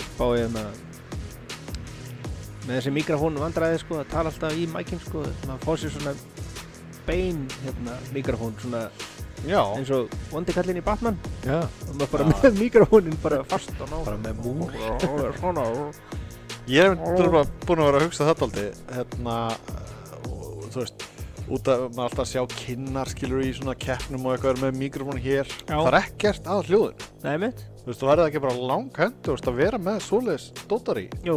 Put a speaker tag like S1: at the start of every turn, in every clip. S1: spá ég hérna með þessi mikrofónu vandræði sko að tala alltaf í mækinn sko maður fá sér svona bein hérna mikrofón svona
S2: Já,
S1: eins og vondi kallinn í Batman
S2: já.
S1: og maður bara
S2: Já.
S1: með mikrofónin bara fast og ná
S2: Bara með múl.
S1: og svona
S2: Ég hef náttúrulega búin að vera að hugsa þetta aldrei, hérna, og, þú veist, út af maður alltaf að sjá kinnar skilur í svona keppnum og eitthvað er með mikrofón hér,
S1: Já.
S2: það er ekkert að hljóðin.
S1: Nei mitt?
S2: Þú veist, þú verður ekki bara langhöndu, þú veist, að vera með svoleiðis dótari
S1: Jú,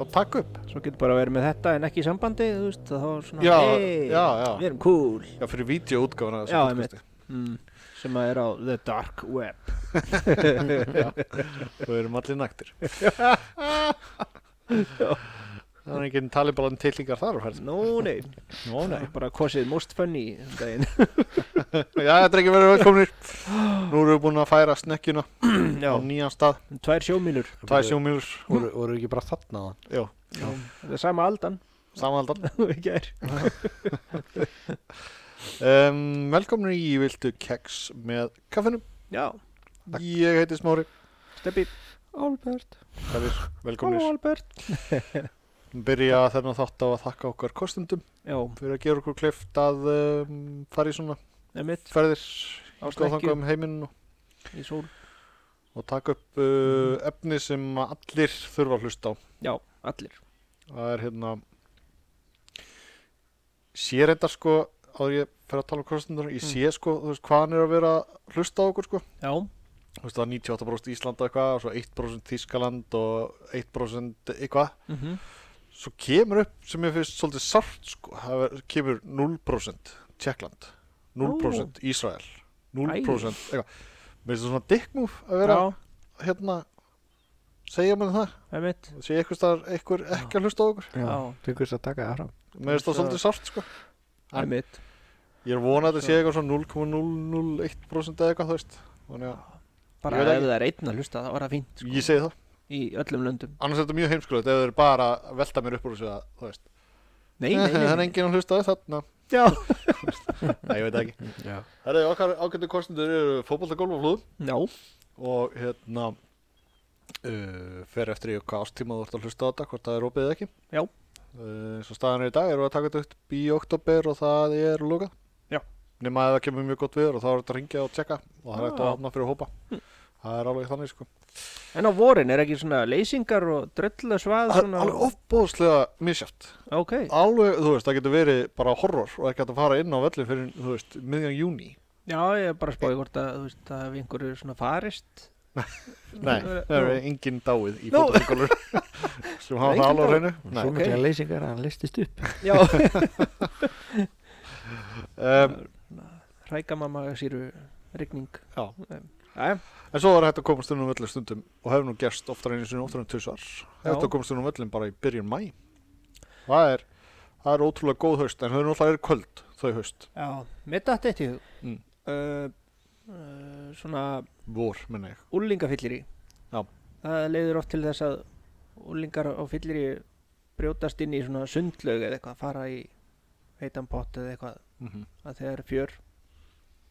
S2: og taka upp.
S1: svo getur bara verið með þetta en ekki í sambandi þú veist þá er svona
S2: Já,
S1: hey,
S2: já, já.
S1: við erum cool
S2: Já, fyrir vídeoútgáfuna
S1: Já, einmitt. mm, sem að er á The Dark Web
S2: Þú erum allir naktir. Það er enginn talibalan tillingar þar á ferð.
S1: No nei,
S2: Nó, nei.
S1: bara kosið most funny um daginn.
S2: Já, þetta er ekki verið velkominir. Nú erum við búin að færa snekkjuna
S1: Já,
S2: á nýjan stað.
S1: tvær sjómílur
S2: Það er sjómjúr.
S3: voru, voru ekki bara þarna á
S2: Já,
S1: Það er sama aldan
S2: samanaldan.
S1: í gær.
S2: Um, velkomin í Viltu Keks með kaffinu.
S1: Já,
S2: Ég heiti Smári.
S1: steppi
S3: Albert
S2: Það er
S1: Halló
S2: velkominir.
S1: Albert
S2: Byrja þennan þátt á að þakka okkar kostendum
S1: Já,
S2: fyrir að gera okkur kleift að um, fara í svona
S1: emitt
S2: ferðir
S1: Á
S2: góðfanga
S1: snekkju.
S2: um heiminn og,
S1: í sól
S2: og taka upp
S1: Mm.
S2: uh, efni sem að allir þurfa að hlusta á.
S1: Já, allir
S2: Það er hérna sé reyndar sko áður en ég fer að tala um kostendur ég
S1: Mm.
S2: sé sko, þú veist, hvað hann er að vera að hlusta á okkur sko,
S1: Já,
S2: þú veist, það er 98% Íslanda eitthvað og svo 1% Þískaland og 1% eitthvað
S1: mm -hmm.
S2: svo kemur upp sem ég finnst svolítið sárt sko, það er, kemur 0% Tjekkland, 0% Ísrael 0% eitthvað mér finnst það svona dickmove að vera
S1: Já,
S2: hérna, segja mér það
S1: emitt
S2: segja eitthvað staðar einhver ekki að hlusta á okkur
S1: Já.
S3: Já, til hvers að taka það fram
S2: mér finnst það svolítið sárt sko En-
S1: Emitt
S2: Ég er vonað að þetta sé eitthvað svona 0,001% eða eitthvað, þú veist. Þannig að
S1: Bara
S2: Ég
S1: ef
S2: veit ekki.
S1: það er einn að hlusta það var það fínt sko,
S2: ég segi það.
S1: Í öllum löndum
S2: Annars er þetta mjög heimskulegt ef þau eru bara að velta mér upp úr þessu að, þú veist.
S1: Nei, nei,
S2: Það
S1: nei,
S2: er
S1: nei.
S2: enginn að hlusta á þarna.
S1: Já
S2: Nei, ég veit það ekki.
S3: Já,
S2: Það eru okkar ágættu kostendur eru fótballtagólf og flúðum
S1: Já,
S2: og hérna uh, fer eftir í okkar ástíma þú ert að hlusta á þetta, hvort það er opið eða ekki.
S1: Já.
S2: Uh, svo staðan er í dag, eru að taka þetta upp í oktober og það er lókað.
S1: Já.
S2: Nema að það kemur mjög gott viður og þá er þetta að ringja og tjekka og það er hægt að
S1: Já. Hm.
S2: opna fyrir hópa. Það er alveg þannig sko.
S1: en á vorin er ekki svona leysingar og drölla svað
S2: Það er
S1: svona...
S2: alveg ofbóðslega misjátt
S1: Ok,
S2: Alveg, þú veist, það getur verið bara horror og ekki hægt að fara inn á velli fyrir, þú veist, miðjan júni
S1: já, ég er bara að spáði hvort að þú veist að hafi einhverju svona farist
S2: Nei, það
S1: Nú.
S2: eru engin dáið í
S1: Nú.
S2: fótbolgólur sem hafa
S1: Engin
S2: það alveg á
S1: dáið.
S2: hreinu Nei.
S3: svo mikla leysingar að hann listist upp
S1: Já,
S2: um,
S1: rækamama sýru rigning
S2: Já.
S1: Æ,
S2: En svo var hægt að komast inn á velli stundum og hefur nú gerst oftar einu sinni, oftar en tussar
S1: Já.
S2: Hægt að komast inn á vellin bara í byrjun mæ Það er, það er ótrúlega góð haust en þau eru náttúrulega köld þau haust
S1: Já, mér datt eitt í hug
S2: Mm.
S1: uh, uh, Svona
S2: Vor, menna ég
S1: úlingafyllir í
S2: Já.
S1: Það leiður oft til þess að úlingar á fyllir í brjótast inn í svona sundlaug eða eitthvað fara í heitan pott eða eitthvað
S2: mm -hmm.
S1: að þegar er fjör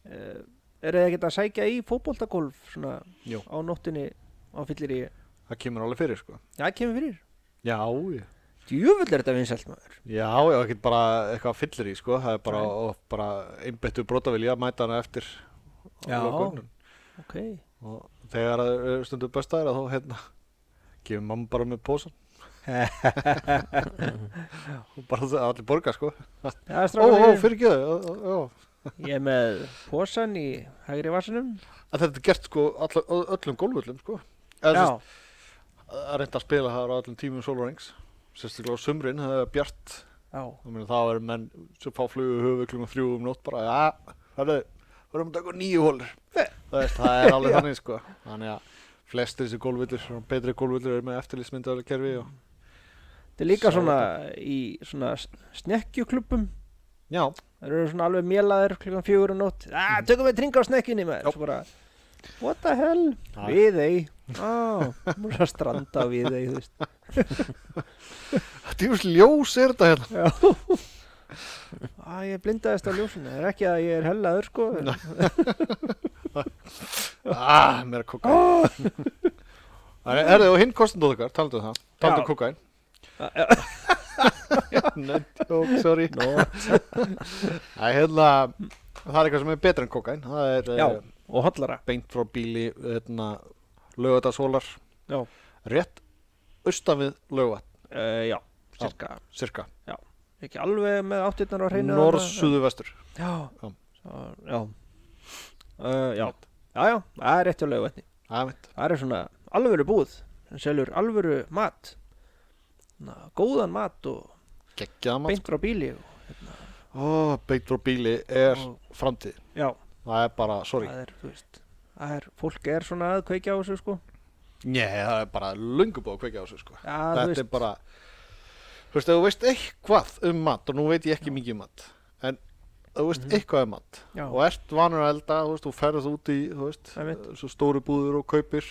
S1: uh, Er þið ekkert að sækja í fótboltagolf svona
S2: Jú.
S1: á nóttinni á fyllir í
S2: Það kemur alveg fyrir, sko
S1: Já, kemur fyrir
S2: Já, já
S1: Djöfull er þetta vinsælt maður
S2: Já, já, ekkert bara eitthvað fyllir í, sko, það er bara,
S1: Nei.
S2: og bara einbyttu brotavilja að mæta hana eftir á
S1: Já.
S2: lokaunum.
S1: Ok
S2: og þegar að eh, stundu besta er að þá, hérna, gefur mamma bara með pósan og bara það- allir borga, sko.
S1: Já,
S2: Ó, ó,
S1: strákur,
S2: fyrir gjöðu, já, já.
S1: ég er með posan í hægri vassinum
S2: Að Þetta er gert, sko, all, öllum gólvöllum, sko. Eða,
S1: Já,
S2: sérst, að reynda að spila það á öllum tímum sólurings, sérstaklega á sumrin, það er bjart,
S1: já
S2: Ég meina, þá er menn sem fá flugu höfu klukkan þrjú um nótt bara, ja, hörðu, verðum að taka nýju hólur. Það, veist, það er alveg þannig, sko. Þannig að flestir þessi gólvillur, betri gólvillur eru með eftirlýsmyndaðarlega kerfi og,
S1: Þetta er líka
S2: Sá
S1: svona í svona snekkjuklubbum
S2: já,
S1: Það eru svona alveg mélaðir klukkan fjögur og nótt ah, Tökum við tringa á snekkjunni með
S2: Já.
S1: Svo bara, what the hell,
S2: Já.
S1: við þeir Á, múið að stranda á við þeir
S2: djús ljós er þetta hérna.
S1: Já Æ, ég blindaðist á ljósinu Það er ekki að ég er hellaður sko en-
S2: Ah, mér að koka. Það er það og hinn kostandóð okkar, taldu um það Taldu um
S1: Já.
S2: kokain
S1: Já.
S2: Nöndjók, sorry
S1: Nó,
S2: Það er hérna Það er eitthvað sem er betra en kokain Það er
S1: já,
S2: eh,
S1: og hollara
S2: beint frá bíli hérna, Lögatarsólar
S1: Já,
S2: Rétt austan við lögat
S1: uh, já, cirka
S2: Cirka,
S1: Ekki alveg með áttirnar á hreinu
S2: norð-suðu vestur
S1: Já,
S2: Já.
S1: svo, já uh, Já, já, já, það er rétt hjá laugavatni
S2: Það er mitt
S1: Það er svona alvöru búð sem selur alvöru mat Na, góðan mat og
S2: Gekkjaða mann
S1: beint frá bíli og,
S2: Ó, Beint frá bíli er
S1: og,
S2: framtíð
S1: Já,
S2: Það er bara, sorry
S1: það er, þú veist það er, fólk er svona að kveikja á þessu sko
S2: Nei, það er bara lungubóð að kveikja á þessu sko
S1: Já, þú
S2: þetta
S1: veist
S2: er bara þú veist, ef þú veist eitthvað um mat og nú veit ég ekki mikið um mat en ef þú veist
S1: Mhm.
S2: eitthvað um mat
S1: Já,
S2: og ert vanur að elda, þú veist, þú ferð út í þú veist,
S1: Einmitt.
S2: svo stóru búður og kaupir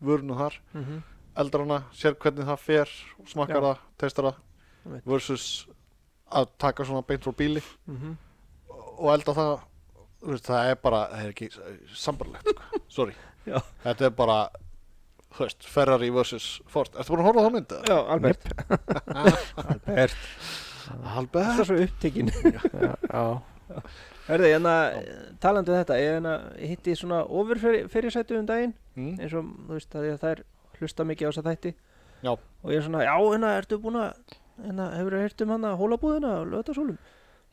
S2: vörnu þar,
S1: mhm,
S2: eldar hana sér hvernig það fer, smakkar
S1: Já.
S2: það testar það,
S1: Einmitt.
S2: versus að taka svona beint frá bíli
S1: mhm
S2: og elda það þú veist, það er bara, það er ekki sambarlegt, sko. sorry
S1: Já.
S2: þetta er bara, þú veist, Ferrari versus Ford, ertu búin að horfa á það myndið?
S1: Já, Albert Albert,
S2: Albert
S1: það er svo upptekinn
S3: Já, já.
S1: Hörðu, hérna, talandi um þetta, ég hérna, hitti svona ofurfyrirsætu um daginn
S2: Mm.
S1: eins og þú veist að það er hlusta mikið á þessa þætti
S2: Já.
S1: og ég er svona, já, hérna, ertu búin að hérna, hefur þú heyrt um hana hólabúðina á löðarsólum?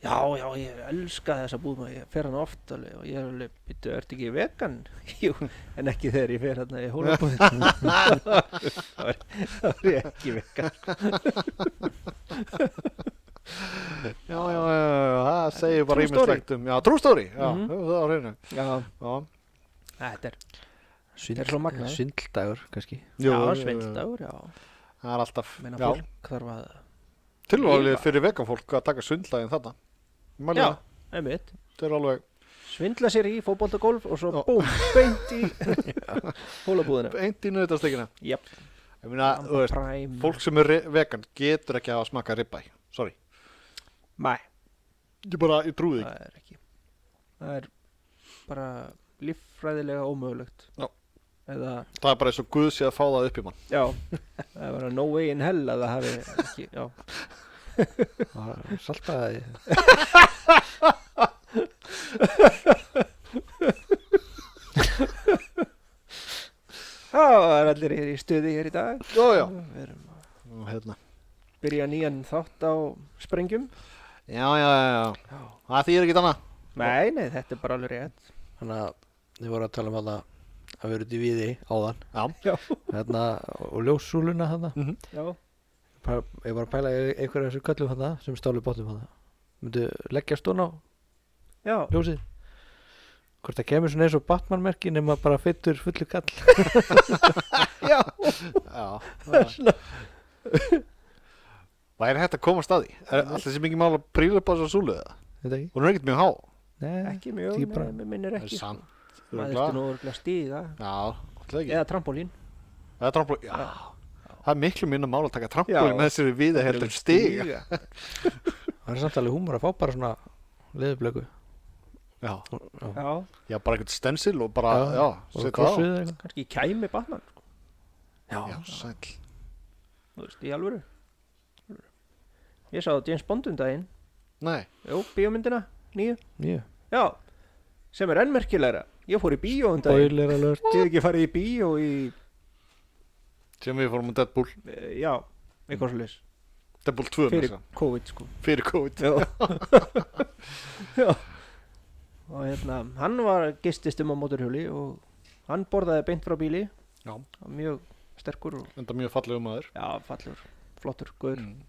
S1: Já, já, ég elska þessa búð maður, ég fer hana oft alveg, og ég er alveg, byttu, ertu ekki vegan? Jú, en ekki þegar ég fer hana í hólabúðina þá er þá er ég ekki vegan
S2: Já, já, já, já, já, það segir bara
S1: True story.
S2: ímislegt um, já, true story, já,
S1: Mhm.
S2: höfum það á hreinu,
S1: Já,
S2: já,
S1: þetta er,
S3: Svindl,
S1: Þetta er svo magnað.
S3: Svindldagur, kannski
S1: já,
S2: Jú, jú, jú,
S1: svindldagur, já
S2: það er alltaf,
S1: meina
S2: já,
S1: fólk þarf að,
S2: tilvalið
S1: Lifa.
S2: fyrir veganfólk að taka sundlægin þarna, mæli
S1: já,
S2: það,
S1: einmitt
S2: þetta er alveg
S1: svindla sér í fótbolta golf og svo
S2: Já.
S1: búm, beint í hólabúðina
S2: eint í nöðutastekina,
S1: Jep,
S2: ég meina, þú veist,
S1: Prime
S2: fólk sem er re- vegan getur ekki að hafa smakað ribbæ, sorry,
S1: Nei,
S2: ég bara, ég trúi því
S1: það
S2: ekki,
S1: er ekki Það er bara líffræðilega ómögulegt
S2: Já.
S1: Eða,
S2: það er bara eins og Guð sé að fá það upp í mann,
S1: já Það er bara no way in hell að það hafi ekki, já
S3: Og Saltaði
S1: Já, það er allir hér í stuði hér í dag
S2: já, já,
S1: Við erum að
S2: og hérna,
S1: byrja nýjan þátt á sprengjum
S2: já, já, já, já,
S1: Já
S2: það þýðir ekki annað,
S1: Nei, nei, þetta er bara alveg rétt
S3: Þannig að þið voru að tala um hana að vera út í viði áðan
S2: já,
S1: Já,
S3: hérna, og ljóssúluna hana
S1: já
S3: bara, ég var að pæla í einhverja þessu köllum hana sem stálu bóttum hana myndu leggja stón á
S1: Já,
S3: ljósið hvort það kemur svona eins og batmanmerki nema bara fyttur fullu kall
S1: já,
S2: Já, já. Væri hægt að komast að því? Er alltaf sem ekki mála príla upp á þessu súlu eða?
S3: þetta ekki?
S2: Hún er ekkert mjög há.
S3: Nei,
S1: ekki mjög,
S3: Típra.
S1: nei, mér minnir
S2: Það
S1: ekki
S2: er samt. Þú
S1: Maður
S2: er
S1: þurfti
S2: glad.
S1: nú örugglega að stíga
S2: Já, alltaf ekki.
S1: Eða trampolín
S2: Það er trampolín. Já. Það er miklu minna mála að taka
S1: Já.
S2: trampolín með þessari viða heldur en stig.
S3: það er samt alveg húmur að fá bara svona leðublöku
S1: Já,
S2: Já, já, bara eitthvað stensil og bara,
S3: Já.
S2: já,
S3: og
S2: setja það á.
S3: krossuð eða eitthvað
S1: kannski kæmi batman sko.
S2: Já, sæll.
S1: Þú veist, í alvöru Alvöru. Ég sá James Bond um daginn
S2: Nei,
S1: Jú, bíómyndina, nýju
S3: nýju
S1: Já, sem er ennmerkilegra Ég fór í bíó um daginn
S3: boiler alert
S1: Ég hef ekki farið í bíó í
S2: sem við fórum á Deadpool.
S1: eh, Já, eitthvað svo leys
S2: Deadpool 2 með
S1: Fyrir
S2: þess að.
S1: COVID sko
S2: Fyrir COVID.
S1: Já, Já. Og hérna, hann var gistist um á móturhjóli og hann borðaði beint frá bíli
S2: Já.
S1: Mjög sterkur og
S2: Enda mjög fallegum maður.
S1: já, fallur, flottur, guður
S2: Mm.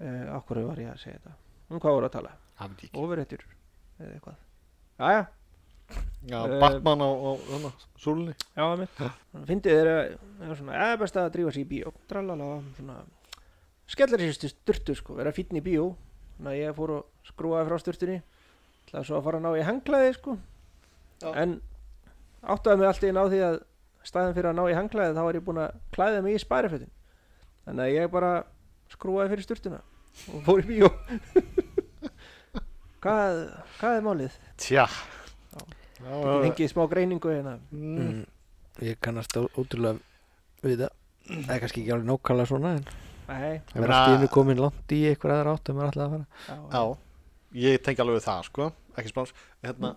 S1: uh, Akkur var ég að segja þetta Um hvað voru að tala?
S2: Það veit ég ekki.
S1: Overrættur eða eitthvað Jæja,
S2: Já,
S1: Eh,
S2: Batman á, á hana, súlunni.
S1: já, það mitt Fyndið þeir að, það er svona, eða best að drífa sér í bíó Tralala, svona Skellar sér stu styrtu, sko, vera fínn í bíó Þannig að ég fór og skrúaði frá styrtunni Það svo að fara að ná í hanglaði, sko
S2: Já.
S1: En áttaði mig allt í einu á því að staðin fyrir að ná í hanglaði þá var ég búinn að klæða mig í sparifötin Þannig að ég bara skrúaði fyrir styrtuna og fór í bíó Hvað, hvað er málið?
S2: Tja. Já,
S1: Ég fengið smá greiningu hérna
S2: Mm.
S3: ég kannast ó- ótrúlega við það það er kannski ekki alveg nákvæmlega svona en
S1: Nei,
S3: það er
S2: meina-
S3: allt í einu komin langt í eitthvað aðra átt um að alltaf að fara
S1: já,
S2: Já, ég tengi alveg við það sko ekki spáns hérna,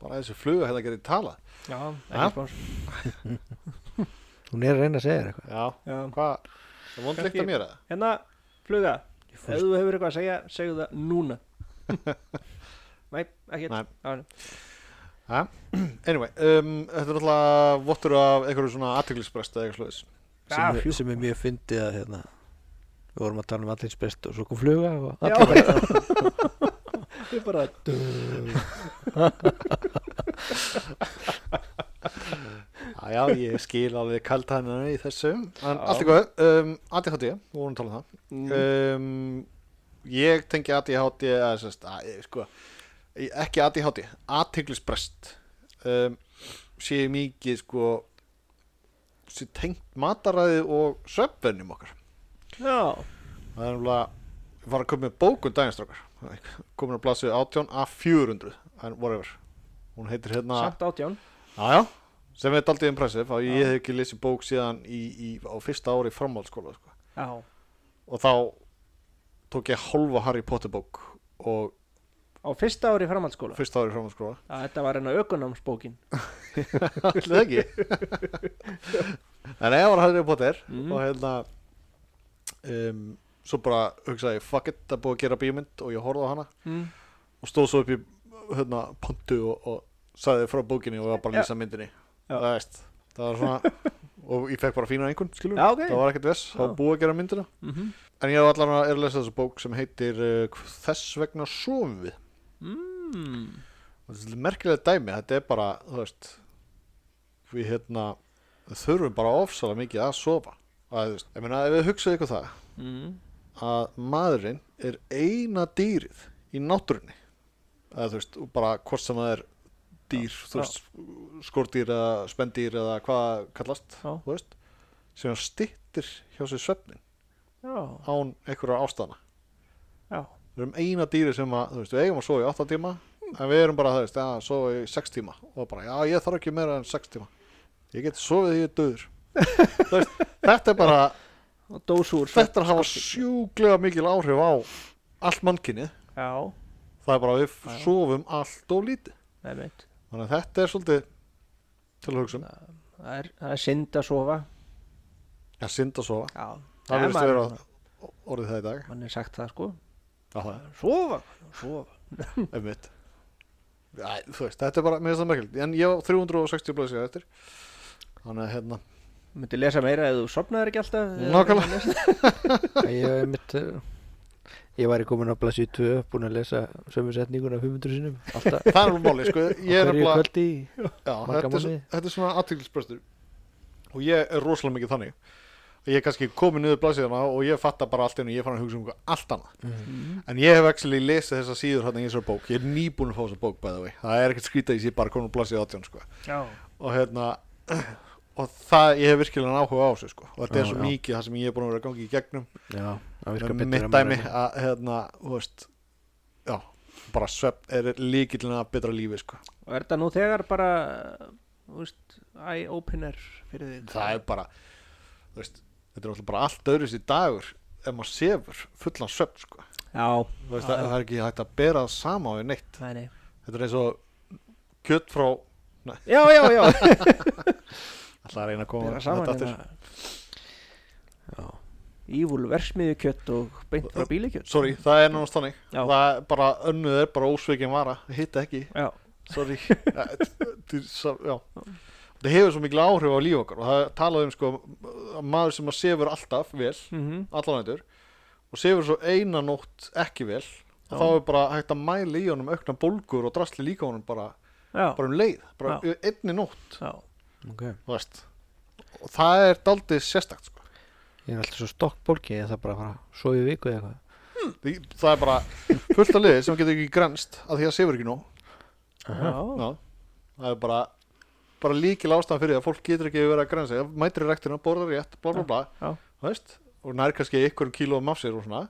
S2: bara þessi fluga hérna getur tala
S1: já,
S2: Já.
S1: ekki spáns
S3: hún er að reyna að segja þér eitthvað
S2: Já,
S1: Já.
S2: hvað, það vond líkt
S1: Kannski-
S2: að mér eða?
S1: Hérna, fluga, ef
S3: fórst-
S1: þú hefur eitthvað að segja, segðu það núna Nei, ekkert
S2: Nei.
S1: Já, hérna.
S2: Anyway, um, þetta er náttúrulega vottur af einhverju svona aðteglisbrest eða eitthvað slúðis
S1: Já,
S3: sem,
S1: fjú.
S3: er- sem er mjög fyndið að hérna, við vorum að tala um allins best og svo kom fluga og
S1: Já.
S3: allir bara
S1: Ég bara
S2: Já, já, ég skil alveg kaltæðina í þessu En
S1: Já.
S2: allt í góð, um, ADHD, við vorum að tala um það
S1: mm,
S2: um, ég tengi ADHD eða, sest, að, eh, sko, ekki ADHD aðteglisbrest um, sé mikið sko sé tengt mataræði og söpvennum okkar
S1: Já,
S2: það er náttúrulega ég var að koma með bókun dagistrákar um komin að blasu 18 að 400 en whatever hún heitir hérna
S1: samt átján
S2: Jájá, sem er daldið impressive að ég hef ekki lesið bók síðan í, í, á fyrsta ári framhaldsskóla sko
S1: Já,
S2: og þá tók ég hálfa Harry Potter bók og
S1: á fyrsta ári framhaldsskóla
S2: fyrst árið fram að skróa
S1: Já, þetta var hérna aukunámsbókin
S2: allir ekki en ég var Harry Potter
S1: Mhm.
S2: og hérna um, svo bara hugsaði ég fuck it, það er búið að gera bímynd og ég horfði á hana
S1: mm.
S2: og stóð svo upp í hérna, pontu og, og sagði frá bókinni og var bara
S1: Já.
S2: að lýsa myndinni
S1: Já.
S2: það veist, það var svona og ég fekk bara fína einhvern skilur
S1: Já, ok.
S2: það var ekkert vess, það var
S1: Já.
S2: búið að gera myndina
S1: Mm -hmm.
S2: en ég hef allan að er að lesa þessa bók sem heitir uh, þess vegna sofum við
S1: mm.
S2: Og Þetta er merkilega dæmi, þetta er bara, þú veist, við hérna þurfum bara ofsalega mikið að sofa. Að, þú veist, ég meina, ef við hugsaðu ykkur það,
S1: Mm.
S2: að maðurinn er eina dýrið í náttúrunni. Að, þú veist, og bara hvort sem það er dýr, þú
S1: Já.
S2: veist, skordýr eða spendýr eða hvað það kallast,
S1: Já.
S2: þú veist, sem stittir hjá sér svefnin
S1: Já,
S2: án einhverjar ástæðna.
S1: já,
S2: Við erum eina dýri sem að, þú veist, við eigum að sofa í 8 tíma en við erum bara, þú veist, að sofa í 6 tíma og bara, já, ég þarf ekki meira en 6 tíma ég get sofið því ég er döður veist, þetta er bara
S1: og dósúr
S2: þetta er að hafa sjúglega mikil áhrif á allt mannkinni
S1: Já,
S2: það er bara að við
S1: Já.
S2: sofum allt og lítið
S1: nei veit
S2: þannig að þetta er svolítið til að hugsa um
S1: Það er, það er synd að sofa
S2: að synda að sofa,
S1: Já,
S2: það
S1: Nei,
S2: verðist að
S1: maður-
S2: vera orðið það í dag
S1: mann er sagt það sko
S2: Já, það
S1: sofa, sofa
S2: er einmitt. Æ, þú veist, þetta er bara, mér finnst það merkilegt en ég á 360 blæsið eftir þannig að hérna
S1: Þú myndir lesa meira ef þú sopnaðir ekki alltaf eða-
S2: Nákvæmlega.
S3: ég, er einmitt, eh, ég væri komin á blassið 2 búin að lesa sömu setninguna 500 sinum alltaf
S2: það er alveg máli sko. ég er
S3: hverju
S2: nefnilega-
S3: kvöldi
S2: já,
S3: marga
S2: þetta, er svo-
S3: mánuði.
S2: þetta er svona aðtýrlisbrestur og ég er rosalega mikið þannig ég er kannski komið niður blaðsíðana og ég fatta bara allt einu, ég fann að hugsa um eitthvað allt annað
S1: Mhm.
S2: en ég hef actually lesið þessa síður hérna í þessar bók, ég er nýbúin að fá þessa bók by the way, það er ekkert skrýta í sér bara komin blaðsíð 18 sko.
S1: Já,
S2: og hérna og það, ég hef virkilega áhuga á þessu sko. og þetta er
S3: Já,
S2: svo
S3: já.
S2: mikið það sem ég er búin að vera að gangi í gegnum
S3: já, það virkar
S2: með
S3: betur
S2: mitt
S3: en maður
S2: dæmi
S3: er með.
S2: að hérna, þú veist já, bara svepp er líkilina betra lífi sko.
S1: og er þetta nú þegar bara þú veist, eye-opener fyrir þig
S2: það er bara þú veist, þetta er alltaf bara allt öðru sér dagur ef maður sefur fullan svefn sko.
S1: Já,
S2: Þú veist,
S1: Já,
S2: það,
S1: já.
S2: það er ekki hægt að bera það sama við neitt
S1: það er nei
S2: þetta er eins og kjött frá
S1: Já, já, já,
S2: alltaf að reyna að koma
S1: bera saman
S2: þetta aftur.
S1: hérna Ívul versmiðu kjött og beint frá bílikjött
S2: sorry, það er náttúrulega þannig
S1: Já.
S2: það er bara önnuð er bara ósveikin vara hitta ekki,
S1: Já,
S2: sorry Ja, þetta er sa- já. þetta hefur svo mikil áhrif á líf okkar og það er talað um sko, að maður sem að sefur alltaf vel
S1: mhm,
S2: allanættur og sefur svo eina nótt ekki vel
S1: Já.
S2: þá er bara hægt að mæla í honum aukna bólgur og drasli líka honum bara,
S1: já,
S2: bara um leið bara
S1: Já.
S2: einni nótt
S1: já
S3: Ok.
S2: þú veist. og það er daldið sérstakt sko.
S3: ég er alltaf svo stokkbólki ég þarf bara að fara að sofa í viku eða
S2: Því, það er bara fullt af liði sem getur ekki grenst að því að sefur ekki nóg
S1: Já,
S2: Já. það er bara bara líkil ástæðan fyrir því að fólk getur ekki verið að grensa mætir í rektina, borðar rétt, bla bla bla
S1: Já.
S2: Þú veist, og nær kannski einhverjum kílóum af sér og svona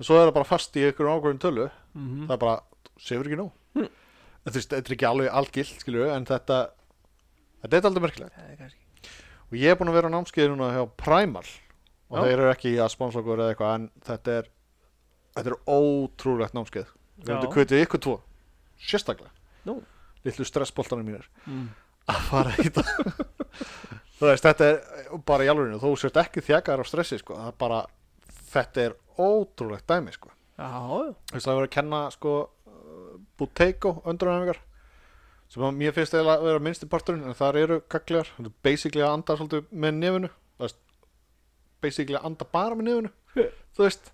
S2: en svo er það bara fast í einhverjum ákveðin tölu
S1: mhm,
S2: það er bara, sefur ekki nóg
S1: Mm.
S2: mm. þetta, er- þetta er ekki alveg algilt skilju, en þetta Þetta er aldrei merkilegt
S1: Það er kannski
S2: og ég er búin að vera á námskeiði núna hjá Primal og
S1: Já.
S2: þeir eru ekki að sponsa okkur eða eitthvað en þetta er, þetta er ótrúlegt námskeið við höfum
S1: Já.
S2: þetta kvitið ykkur tvo sérstaklega
S1: Nú.
S2: litlu stressboltanum mínir
S1: mm.
S2: að fara í þetta þú veist þetta er bara í alveginu þú sért ekki þjakaðar af stressi sko það er bara þetta er ótrúlegt dæmi sko
S1: Já, já.
S2: þú veist það er verið að kenna sko Buteiko öndrunarhefingar sem að mér finnst eiginlega að vera minnsti parturinn en þar eru kaklegar, þetta er basically að anda svolítið með nefinu þú veist, basically að anda bara með nefinu þú veist,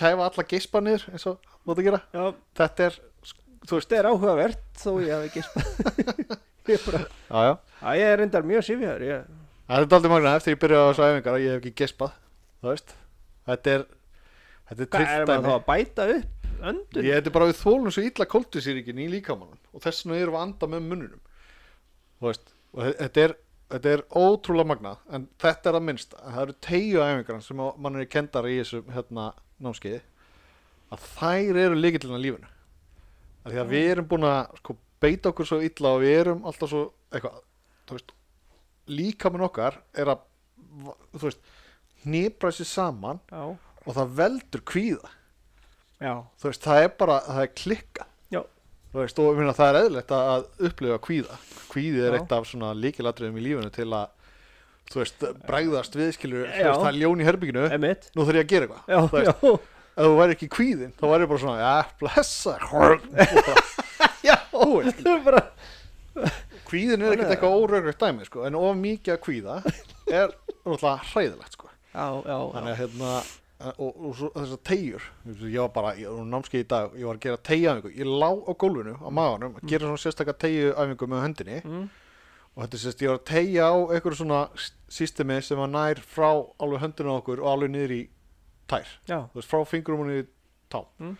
S2: kæfa alla geispa niður eins og mót að gera
S1: já
S2: þetta er, sk- þú veist,
S1: Þetta er áhugavert þó ég hef ekki Ég er bara
S2: já já
S1: Æ, ég er reyndar mjög sifjar ég...
S2: Það er aldrei magna eftir ég byrjaði á þessu æfingar að ég hef ekki gespað Þú veist Þetta er Þetta er
S1: Hvað er maður
S2: trillt
S1: þá
S2: dæmi
S1: að bæta upp öndun?
S2: Ég þetta er bara við þólum svo illa koltisýringin í líkamanum og þess vegna erum við að anda með munnunum Þú veist og þe- þetta er, þetta er ótrúlega magnað en þetta er að minnst það eru tegju æfingar sem að mann er kendar í þessu hérna námskeiði að þær eru líkillinn að lífinu af því að við erum búin að sko, beita okkur svo illa og við erum alltaf svo eitthvað, þú veist líkaminn okkar er að þú veist, hnipra sér saman
S1: Já,
S2: og það veldur kvíða
S1: já,
S2: þú veist, það er bara, það er klikka
S1: já
S2: þú veist, og ég meina, það er eðlilegt að- að upplifa kvíða, kvíði
S1: Já.
S2: er eitt af svona líkilatriðum í lífinu til að þú veist, bregðast viðskilur þú
S1: Já.
S2: veist, það er ljón í herbygginu,
S1: Emmett
S2: nú þarf ég að gera eitthvað
S1: Já,
S2: Þú veist,
S1: já,
S2: ef þú væri ekki kvíðin, þá væri bara svona ja, blessa og bara, já, þú veist
S1: það er bara
S2: kvíðin er ekkert
S1: Þannig að-
S2: eitthvað óraugrið dæmi sko, en of mikið að kvíða er náttúrulega hræðilegt sko.
S1: Já, já, já,
S2: þannig að hérna og, og svo þessar tegjur ég var bara, ég var námskeið í dag ég var að gera tegjaæfingu, ég lá á gólfinu á maganum að gera svona sérstakka tegjaæfingu með höndinni
S1: Mm.
S2: og þetta er sérst, ég var að tegja á einhverju svona systemi sem að nær frá alveg höndinu á okkur og alveg niður í tær
S1: já.
S2: þú veist, frá fingrum hún í tá
S1: Mm.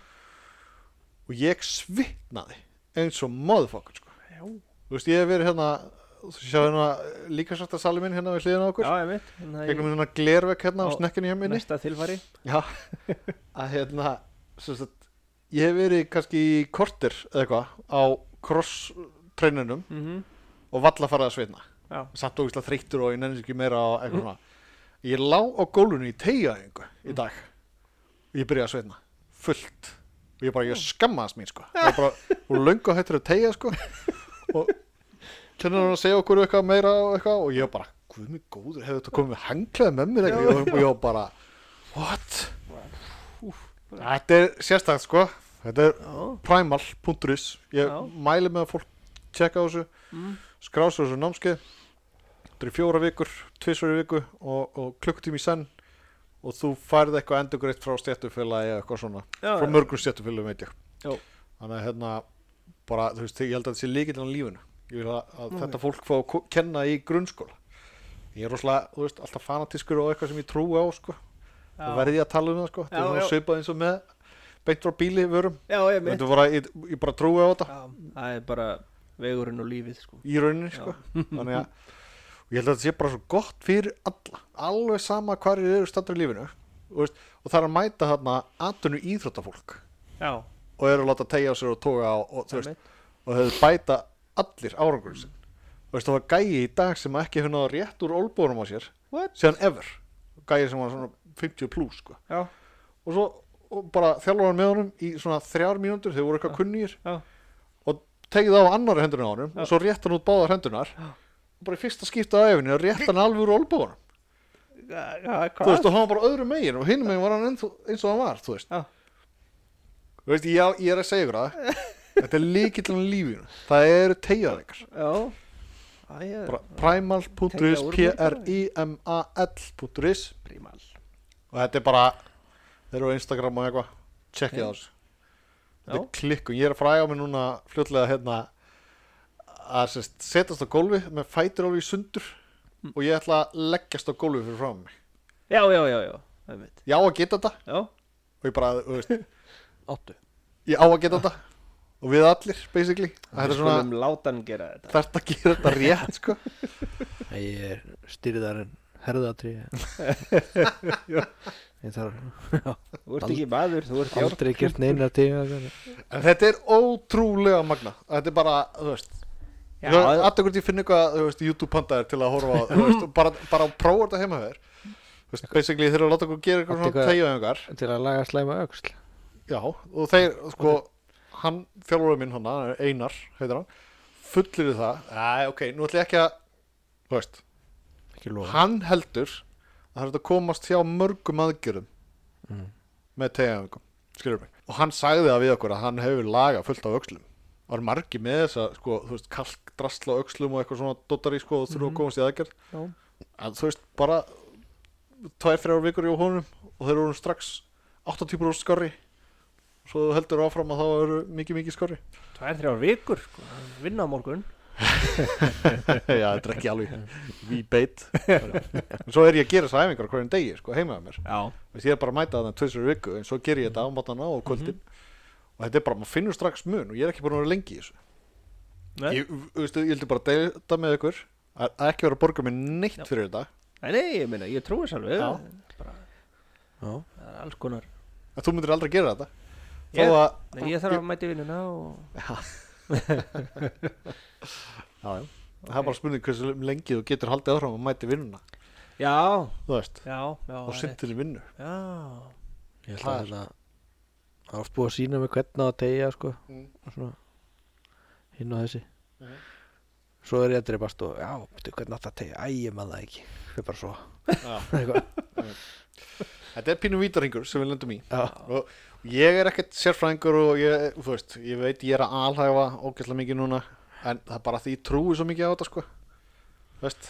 S2: og ég svitnaði eins og motherfucker sko.
S1: Já.
S2: þú veist, ég hef verið hérna þú sjá hérna líka svarta sali minn hérna við hliðina á okkur
S1: Já, Emmett
S2: gegnum hérna glervekk hérna á
S1: Á
S2: snekkinu hjá minni
S1: Næsta tilfæri
S2: já, að hérna sem sagt, ég hef verið kannski í kortir eða eitthvað á cross treinunum
S1: mm
S2: og valla farið að svitna
S1: Já,
S2: samt ógislega þreyttur og ég nenni sér ekki meira á eitthvað svona ég lá á gólunni í tegjaðingu í dag og ég byrjaði að sveitna fullt og ég bara, ég skammaðast mín sko ég bara, hún löngu hættur að tegja sko og kennir hann að segja okkur eitthvað meira og eitthvað og ég bara, guð mig góður, hefur þetta komið með hanglaði með mér eitthvað og ég- og ég bara, what? Þetta er sérstakt sko þetta er
S1: já,
S2: primal.is ég
S1: Já.
S2: mæli með að fólk tjekka á þessu
S1: Mm.
S2: skrá svo þessu námskeið þetta er í fjóra vikur, tvisvar í viku og, og klukkutími í senn og þú færð eitthvað endur greitt frá stjættufélagi eða eitthvað svona,
S1: já
S2: frá mörgum stjættufélagi veit ég
S1: Já.
S2: þannig að hérna bara, þú veist, ég held að þetta sé líkillinn á lífinu ég vil að, að
S1: Ok.
S2: þetta fólk fá að ko- kenna í grunnskóla ég er rosalega, þú veist, alltaf fanatískur og eitthvað sem ég trúi á sko,
S1: Já.
S2: og verði ég að tala um það sko, þetta
S1: Já,
S2: er svona
S1: já.
S2: svipað eins og með beint frá bíli vörum
S1: Já, Emmett
S2: Þetta var að, ég, ég bara trúi á þetta
S1: Já, það er bara vegurinn og lífið sko
S2: í rauninni, sko. Þannig að og ég held að þetta sé bara svo gott fyrir alla, alveg sama hvar þeir eru stattur í lífinu. Og, veist, og það er að mæta þarna atvinnu íþróttafólk
S1: Já,
S2: og eru að láta tegja á sér og toga á og, þú veist,
S1: Emmett
S2: og þeir bæta allir árangurinn sinn. Þú veist, það var gæi í dag sem ekki hefði náða rétt úr olbúrum á sér
S1: What?
S2: síðan ever. Gæi sem var svona 50 plus, sko.
S1: Já,
S2: Og svo og bara þjálfur hann með honum í svona þrjár mínútur, þeir voru eitthvað kunnýr
S1: já,
S2: og tegið á annari hendurinn á honum og svo rétt hann út báðar hendunar og bara í fyrsta skipta á efinu og rétt hann alveg úr olbúðunum
S1: já, já,
S2: þú
S1: hvað?
S2: veist og hann var bara öðru megin og hinn megin var hann eins og, eins og hann var þú veist,
S1: Já.
S2: þú veist ég, ég er að segja ykkur það þetta er líkillin á lífinu það eru tegjað ykkur
S1: Já Æ, ég er
S2: bara primal.is
S1: Teygja úr mér, bara.
S2: p-r-i-m-a-l.is
S1: primal
S2: og þetta er bara þeir eru á Instagram og eitthvað checkið á þessu þetta er
S1: Já.
S2: klikkun, ég er að fræga mig núna fljótlega hérna að sest, setast á gólfi með fætur alveg í sundur
S1: Mm.
S2: og ég ætla að leggjast á gólfi fyrir frá mig
S1: Já, já, já, já, Emmett
S2: ég á að geta þetta
S1: Já,
S2: og ég bara, þú veist,
S3: Áttu
S2: ég á að geta þetta og við allir, basically að
S1: við
S2: þetta er
S1: skulum
S2: svona,
S1: látan gera þetta
S2: þarft að gera þetta rétt sko.
S3: Ég er styrðar en herðatri Ég þarf
S1: Þú ert ekki maður, þú ert fjár
S3: aldrei gert neina til
S2: en þetta er ótrúlega magna þetta er bara, þú veist
S1: Já,
S2: alltaf hvort ég finn eitthvað þú veist, YouTube pandaðir til að horfa á þú veist, og bara, bara að prófa þetta heima þér þú veist, basically þeir eru að láta okkur gera eitthvað
S3: Átti
S2: svona
S3: eitthvað-
S2: tegjöðingar
S3: til að laga slæma öxl
S2: já, og þeir, sko hann, þjálfurinn minn hann, hann er Einar heitir hann, fullir það Æ, ok, nú ætlum ég ekki að þú veist,
S3: ekki lofa
S2: hann heldur að það er hægt að komast hjá mörgum aðgerðum
S3: Mm.
S2: með tegjöðingum, skilur mig og hann sagði það við okkur að hann hefur laga fullt af öxlum var margi með þess að sko, þú veist, kalk, drasla á öxlum og eitthvað svona dottari sko og þurfa
S1: Mhm.
S2: að komast í aðgerð
S1: já,
S2: að þú veist bara tvær, þrjár vikur hjá honum og þeir eru strax 80% skorri svo þú heldur áfram að þá eru mikið, mikið skorri
S1: tvær, þrjár vikur sko, vinna á morgun
S2: já, þetta er ekki alveg við beit en svo er ég að gera þess æfingar á hverjum degi, sko, heima að mér
S1: já,
S2: Þú veist, ég er bara að mæta þannig tveisur viku en svo ger ég þetta á mátana og kvöldin
S1: Mhm.
S2: og þetta er bara, maður finnur strax mun og ég er ekki búin að vera lengi í þessu
S1: nei,
S2: ég, þú veistu, ég heldur bara að deila þetta með ykkur að að ekki vera að borga mér neitt
S1: Já.
S2: fyrir þetta
S1: nei, nei, ég meina, ég trúi þess alveg
S2: Já.
S1: bara,
S3: já,
S1: það er alls konar
S2: en þú myndir aldrei gera þetta þó
S1: Ég-
S2: að
S1: nei, ég þarf að mæti vinnuna og
S2: Já, já. Það er bara spurning hversu lengi þú getur haldið áfram að mæti vinnuna,
S1: já,
S2: þú veist,
S1: já, já,
S2: og
S1: það er-
S2: sinn til vinnu.
S1: já,
S3: ég held
S2: Það
S3: að
S2: er-
S3: hérna það er oft búið að sína mig hvernig á að tegja sko,
S2: Mm.
S3: og svona hinn og þessi
S2: Mhm.
S3: svo er ég að dreipast og já, betur hvernig átt að tegja, æ, ég man það ekki við bara svo Eitthvað.
S2: Þetta er pínum vítaringur sem við lendum í.
S3: já,
S2: Ég er ekkert sérfræðingur og ég, þú veist, ég veit ég er að alhæfa ógæslega mikið núna, en það er bara því ég trúi svo mikið á þetta, sko. Þú veist,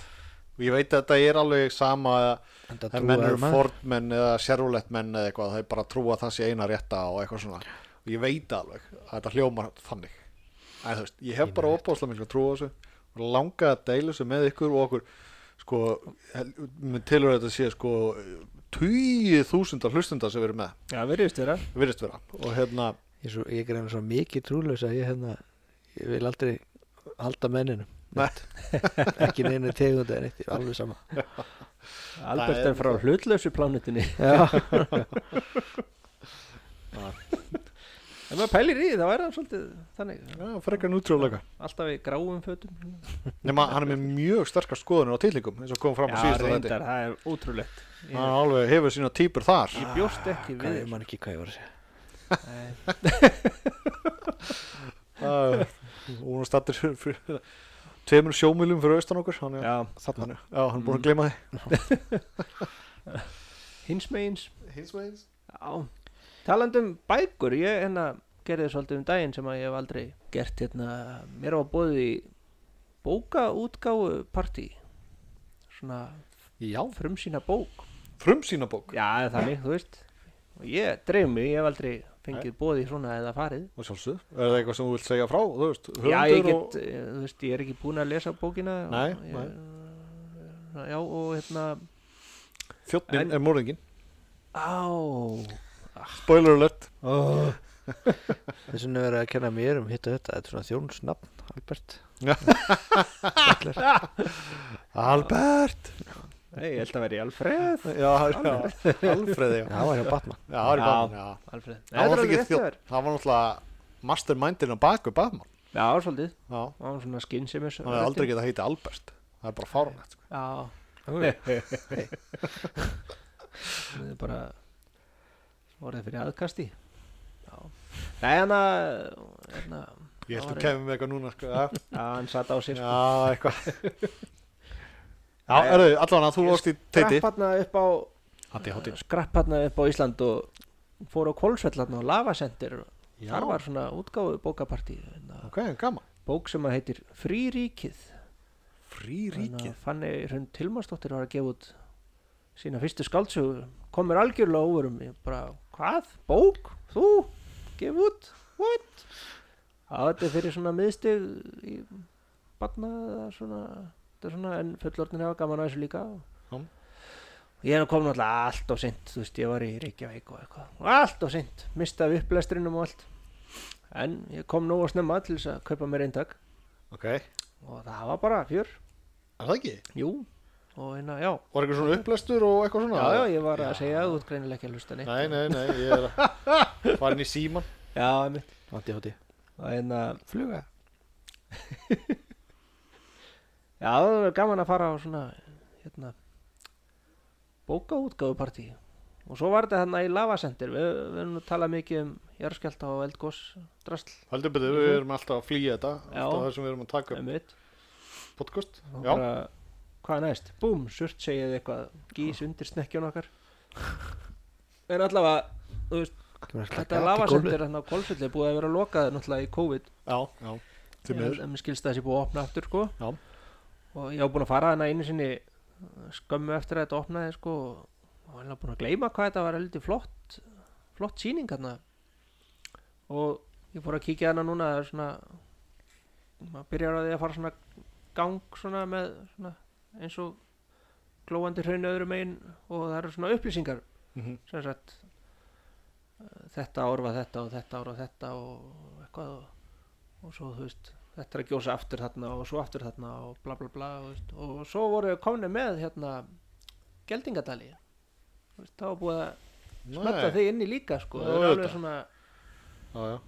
S2: og ég veit að þetta er alveg sama að
S3: en það
S2: það menn
S3: trúaður
S2: eru
S3: maður
S2: fordmenn eða sérvulettmenn eða eitthvað, það er bara að trúa að það sé eina rétta og eitthvað svona. Og ég veit alveg að þetta hljómar þannig. En þú veist, ég hef
S3: Eina
S2: bara
S3: rétta.
S2: opáslega miklu að trúa þessu og langa að deila þessu með ykkur og okkur, sko, minn tilur þetta sé, sko, tíu þúsundar hlustundar sem við erum með,
S1: já, veriðist þeirra
S2: virðist vera. Og hérna,
S3: ég, er svo, ég er einu svo mikið trúlaus að ég hérna ég vil aldrei halda menninu
S2: Nei.
S3: ekki neina tegunda en eitt alveg sama
S1: Albert
S2: Það er-
S1: er frá hlutlausu plánutinni
S3: já,
S1: ef maður pælir í því, þá er það svolítið þannig,
S2: já, frekar nútrúlega.
S1: alltaf í gráum fötum
S2: Nefna, hann er með mjög sterkar skoðunir á tilíkum, eins og kom fram á
S1: já,
S2: síðustu
S1: reyndar,
S2: þetta.
S1: það er ótrúlegt
S2: Hann
S1: ég,
S2: alveg hefur sína týpur þar.
S1: ég bjóst ekki
S3: hvað
S1: við
S3: ég man ekki hvað ég var að segja
S1: Nei.
S2: Það er- og hún stattir fyrir tveimur sjómiljum fyrir austan okkur hann er
S1: já,
S2: þarna Mm. já, hann er búin að gleyma þið
S1: hins megins
S2: hins veins
S1: Já, talandum bækur, ég hérna gerði svolítið um daginn sem að ég hef aldrei gert hérna, mér var bóðið í bókaútgáfu partí, svona
S2: já,
S1: frumsýna bók,
S2: frumsýna bók
S1: já eða þannig, þú veist, og ég dreif mig, ég hef aldrei fengið bóðið í svona eða farið.
S2: og sjálfsög, er það eitthvað sem þú vilt segja frá þú veist,
S1: Já, ég
S2: höfundur
S1: get, eh, þú veist, ég er ekki búin að lesa bókina. og
S2: Nei,
S1: ég, Já, og hérna,
S2: og þjóttin
S1: En-
S2: er morðingin
S1: á,
S2: spoiler alert
S1: oh.
S3: þess vegna er verið að kenna mér um hitt og þetta þetta er svona þjónsnafn, Albert
S2: Já.
S3: Butler.
S2: Albert
S1: nei, ég held að vera í Alfreð,
S2: já, já, Alfreði já,
S3: já, hann var hjá Batman
S2: já, Harry
S1: Já.
S2: Batman, já.
S1: Alfreð, Nei,
S2: það
S1: þetta
S2: var
S1: er
S2: ekki
S1: alveg rétt hjá
S2: þjótt
S1: þér.
S2: það var náttúrulega mastermindin á baku Batman
S1: Já, svolítið.
S2: já,
S1: Það var svona skinsemis
S2: hann er aldrei getað heiti Albert það er bara fárunætt sko.
S1: Já
S3: Oj.
S1: Það er bara orðið fyrir aðkasti Já Nei, hann að hérna,
S2: ég held
S1: Það
S2: að
S1: var-
S2: kemur með eitthvað núna sko. já,
S1: já, hann satt á sér sko.
S2: Já, eitthvað Já,
S1: Nei,
S2: erðu, allan að þú
S1: ég
S2: varst í teiti
S1: Skrapp hérna upp á
S2: Hatti,
S1: Skrapp hérna upp á Ísland og fór á Kolsvell hérna á Lavasendir og þar var svona útgáfu bókapartí hérna,
S2: Eh, Ok, gaman
S1: bók sem að heitir Fríríkið
S2: Frí ríkið
S1: Fanni Hrund Tilmarsdóttir var að gefa út sína fyrstu skáldsögu komur algjörlega óverum ég bara, hvað, bók, þú gef út, what að þetta er fyrir svona miðstig í barna eða svona, þetta er svona en fullorðin hefa gaman að þessu líka
S2: Já.
S1: og ég kom náttúrulega allt og sint þú veist, ég var í Reykjavík og eitthvað allt og sint, mistaði upplestrinum og allt en ég kom nóg að snemma til þess að kaupa mér eintak
S2: Ok, er
S1: og það var bara fjör
S2: það ekki?
S1: Jú, og hérna, já
S2: Var eitthvað svona upplestur og eitthvað svona?
S1: Já, já, ég var að segja að þú ert greinilega ekki að hlusta neitt
S2: Nei, nei, nei, ég er að farin í síman
S1: Já, einmitt
S3: Hatti, hatti,
S1: Og hérna,
S3: fluga
S1: Já, það verður gaman að fara á svona hérna, bókaútgáfupartí og svo var þetta þarna í lavasendir við, við erum nú að tala mikið um jarðskjálta og eldgós drasl
S2: Heldur betur, við erum alltaf að flýja þetta alltaf
S1: Mhm. Já.
S2: það sem við erum að taka upp
S1: einmitt,
S2: podcast
S1: og
S2: Já,
S1: bara, hvað er næst? Búm, surt segið eitthvað gís undir snekkjun okkar en allavega þú veist, þetta lavasendir hann á Kolfjöldi búið að vera lokað náttúrulega í COVID
S2: já, já, til miður
S1: en mér skilst að þessi búið að opna aftur sko.
S2: Já.
S1: og ég var búin að fara hana einu sinni uh, skömmu eftir að þetta opnaði sko, og hann var búin að gleyma hvað þetta var heldur flott flott sýning þarna og ég fór að kíkja hana núna það er svona maður byrjar á því að fara svona gang svona með svona eins og glóandi hraun öðrum megin og það eru svona upplýsingar
S2: Mhm.
S1: sem sagt eh, þetta ár var þetta og þetta ár var þetta og eitthvað og, og svo þú veist þetta er að gjósa aftur þarna og svo aftur þarna og bla bla bla og, veist, og svo voru við komni með hérna geldingadali Þú veist, þá var búið að smetta
S2: Nei,
S1: þig inni líka sko,
S2: Já,
S1: það er alveg
S2: auðvitað.
S1: svona
S2: já, já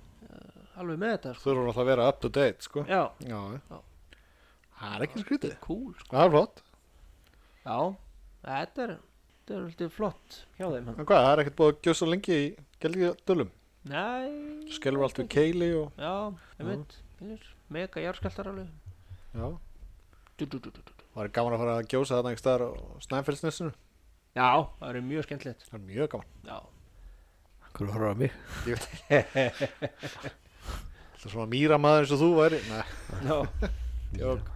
S1: alveg með þetta sko.
S2: Þú erum alltaf að vera up to date, sko
S1: já,
S2: Já, já
S1: Já.
S2: Það er ekki skrítið
S1: cool sko.
S2: Það er flott
S1: já, þetta er þetta er alltaf flott hjá þeim hann.
S2: En hvað, það er ekkert búið að gjösa lengi í Geldingadölum
S1: nei,
S2: Skelur allt við keili og
S1: já, ég veit skilur, mega jarðskjaldar alveg
S2: Já,
S1: du, du, du, du, du.
S2: það er gaman að fara að gjósa þarna ekki staðar á Snæfellsnessinu
S1: já, það eru mjög skemmtilegt
S2: Það er mjög gaman
S1: já,
S3: Hvernig horfður á mig?
S2: Það er svona mýramaður eins og þú væri Nei,
S1: já
S2: djók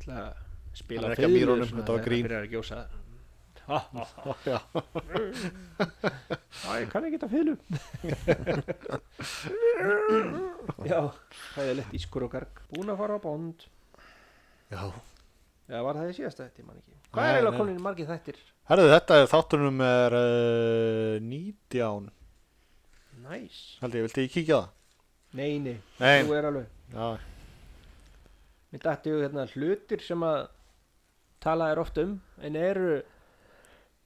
S1: ætla að spila
S2: Hann er ekki að
S1: fiðlu,
S2: mýrunum,
S1: svona,
S2: þetta var
S1: þegar
S2: grín.
S1: hann byrjar að gjósa Ha, ha, ha.
S2: Já,
S1: Já, ég kann ekki þetta fylgum Já, það er lett ískur og garg Búin að fara á bond
S2: já
S1: Já, var það í síðasta þetta, ég man ekki Hvað
S2: Nei,
S1: er
S2: nei.
S1: eiginlega konin margir þættir?
S2: Herðu, þetta er þáttunum er uh, 19
S1: Næs
S2: Held ég, viltu ég kíkja á það?
S1: Nei, nei,
S2: Nei,
S1: þú er alveg
S2: já,
S1: Mér dætti ég hérna hlutir sem að tala er oft um en eru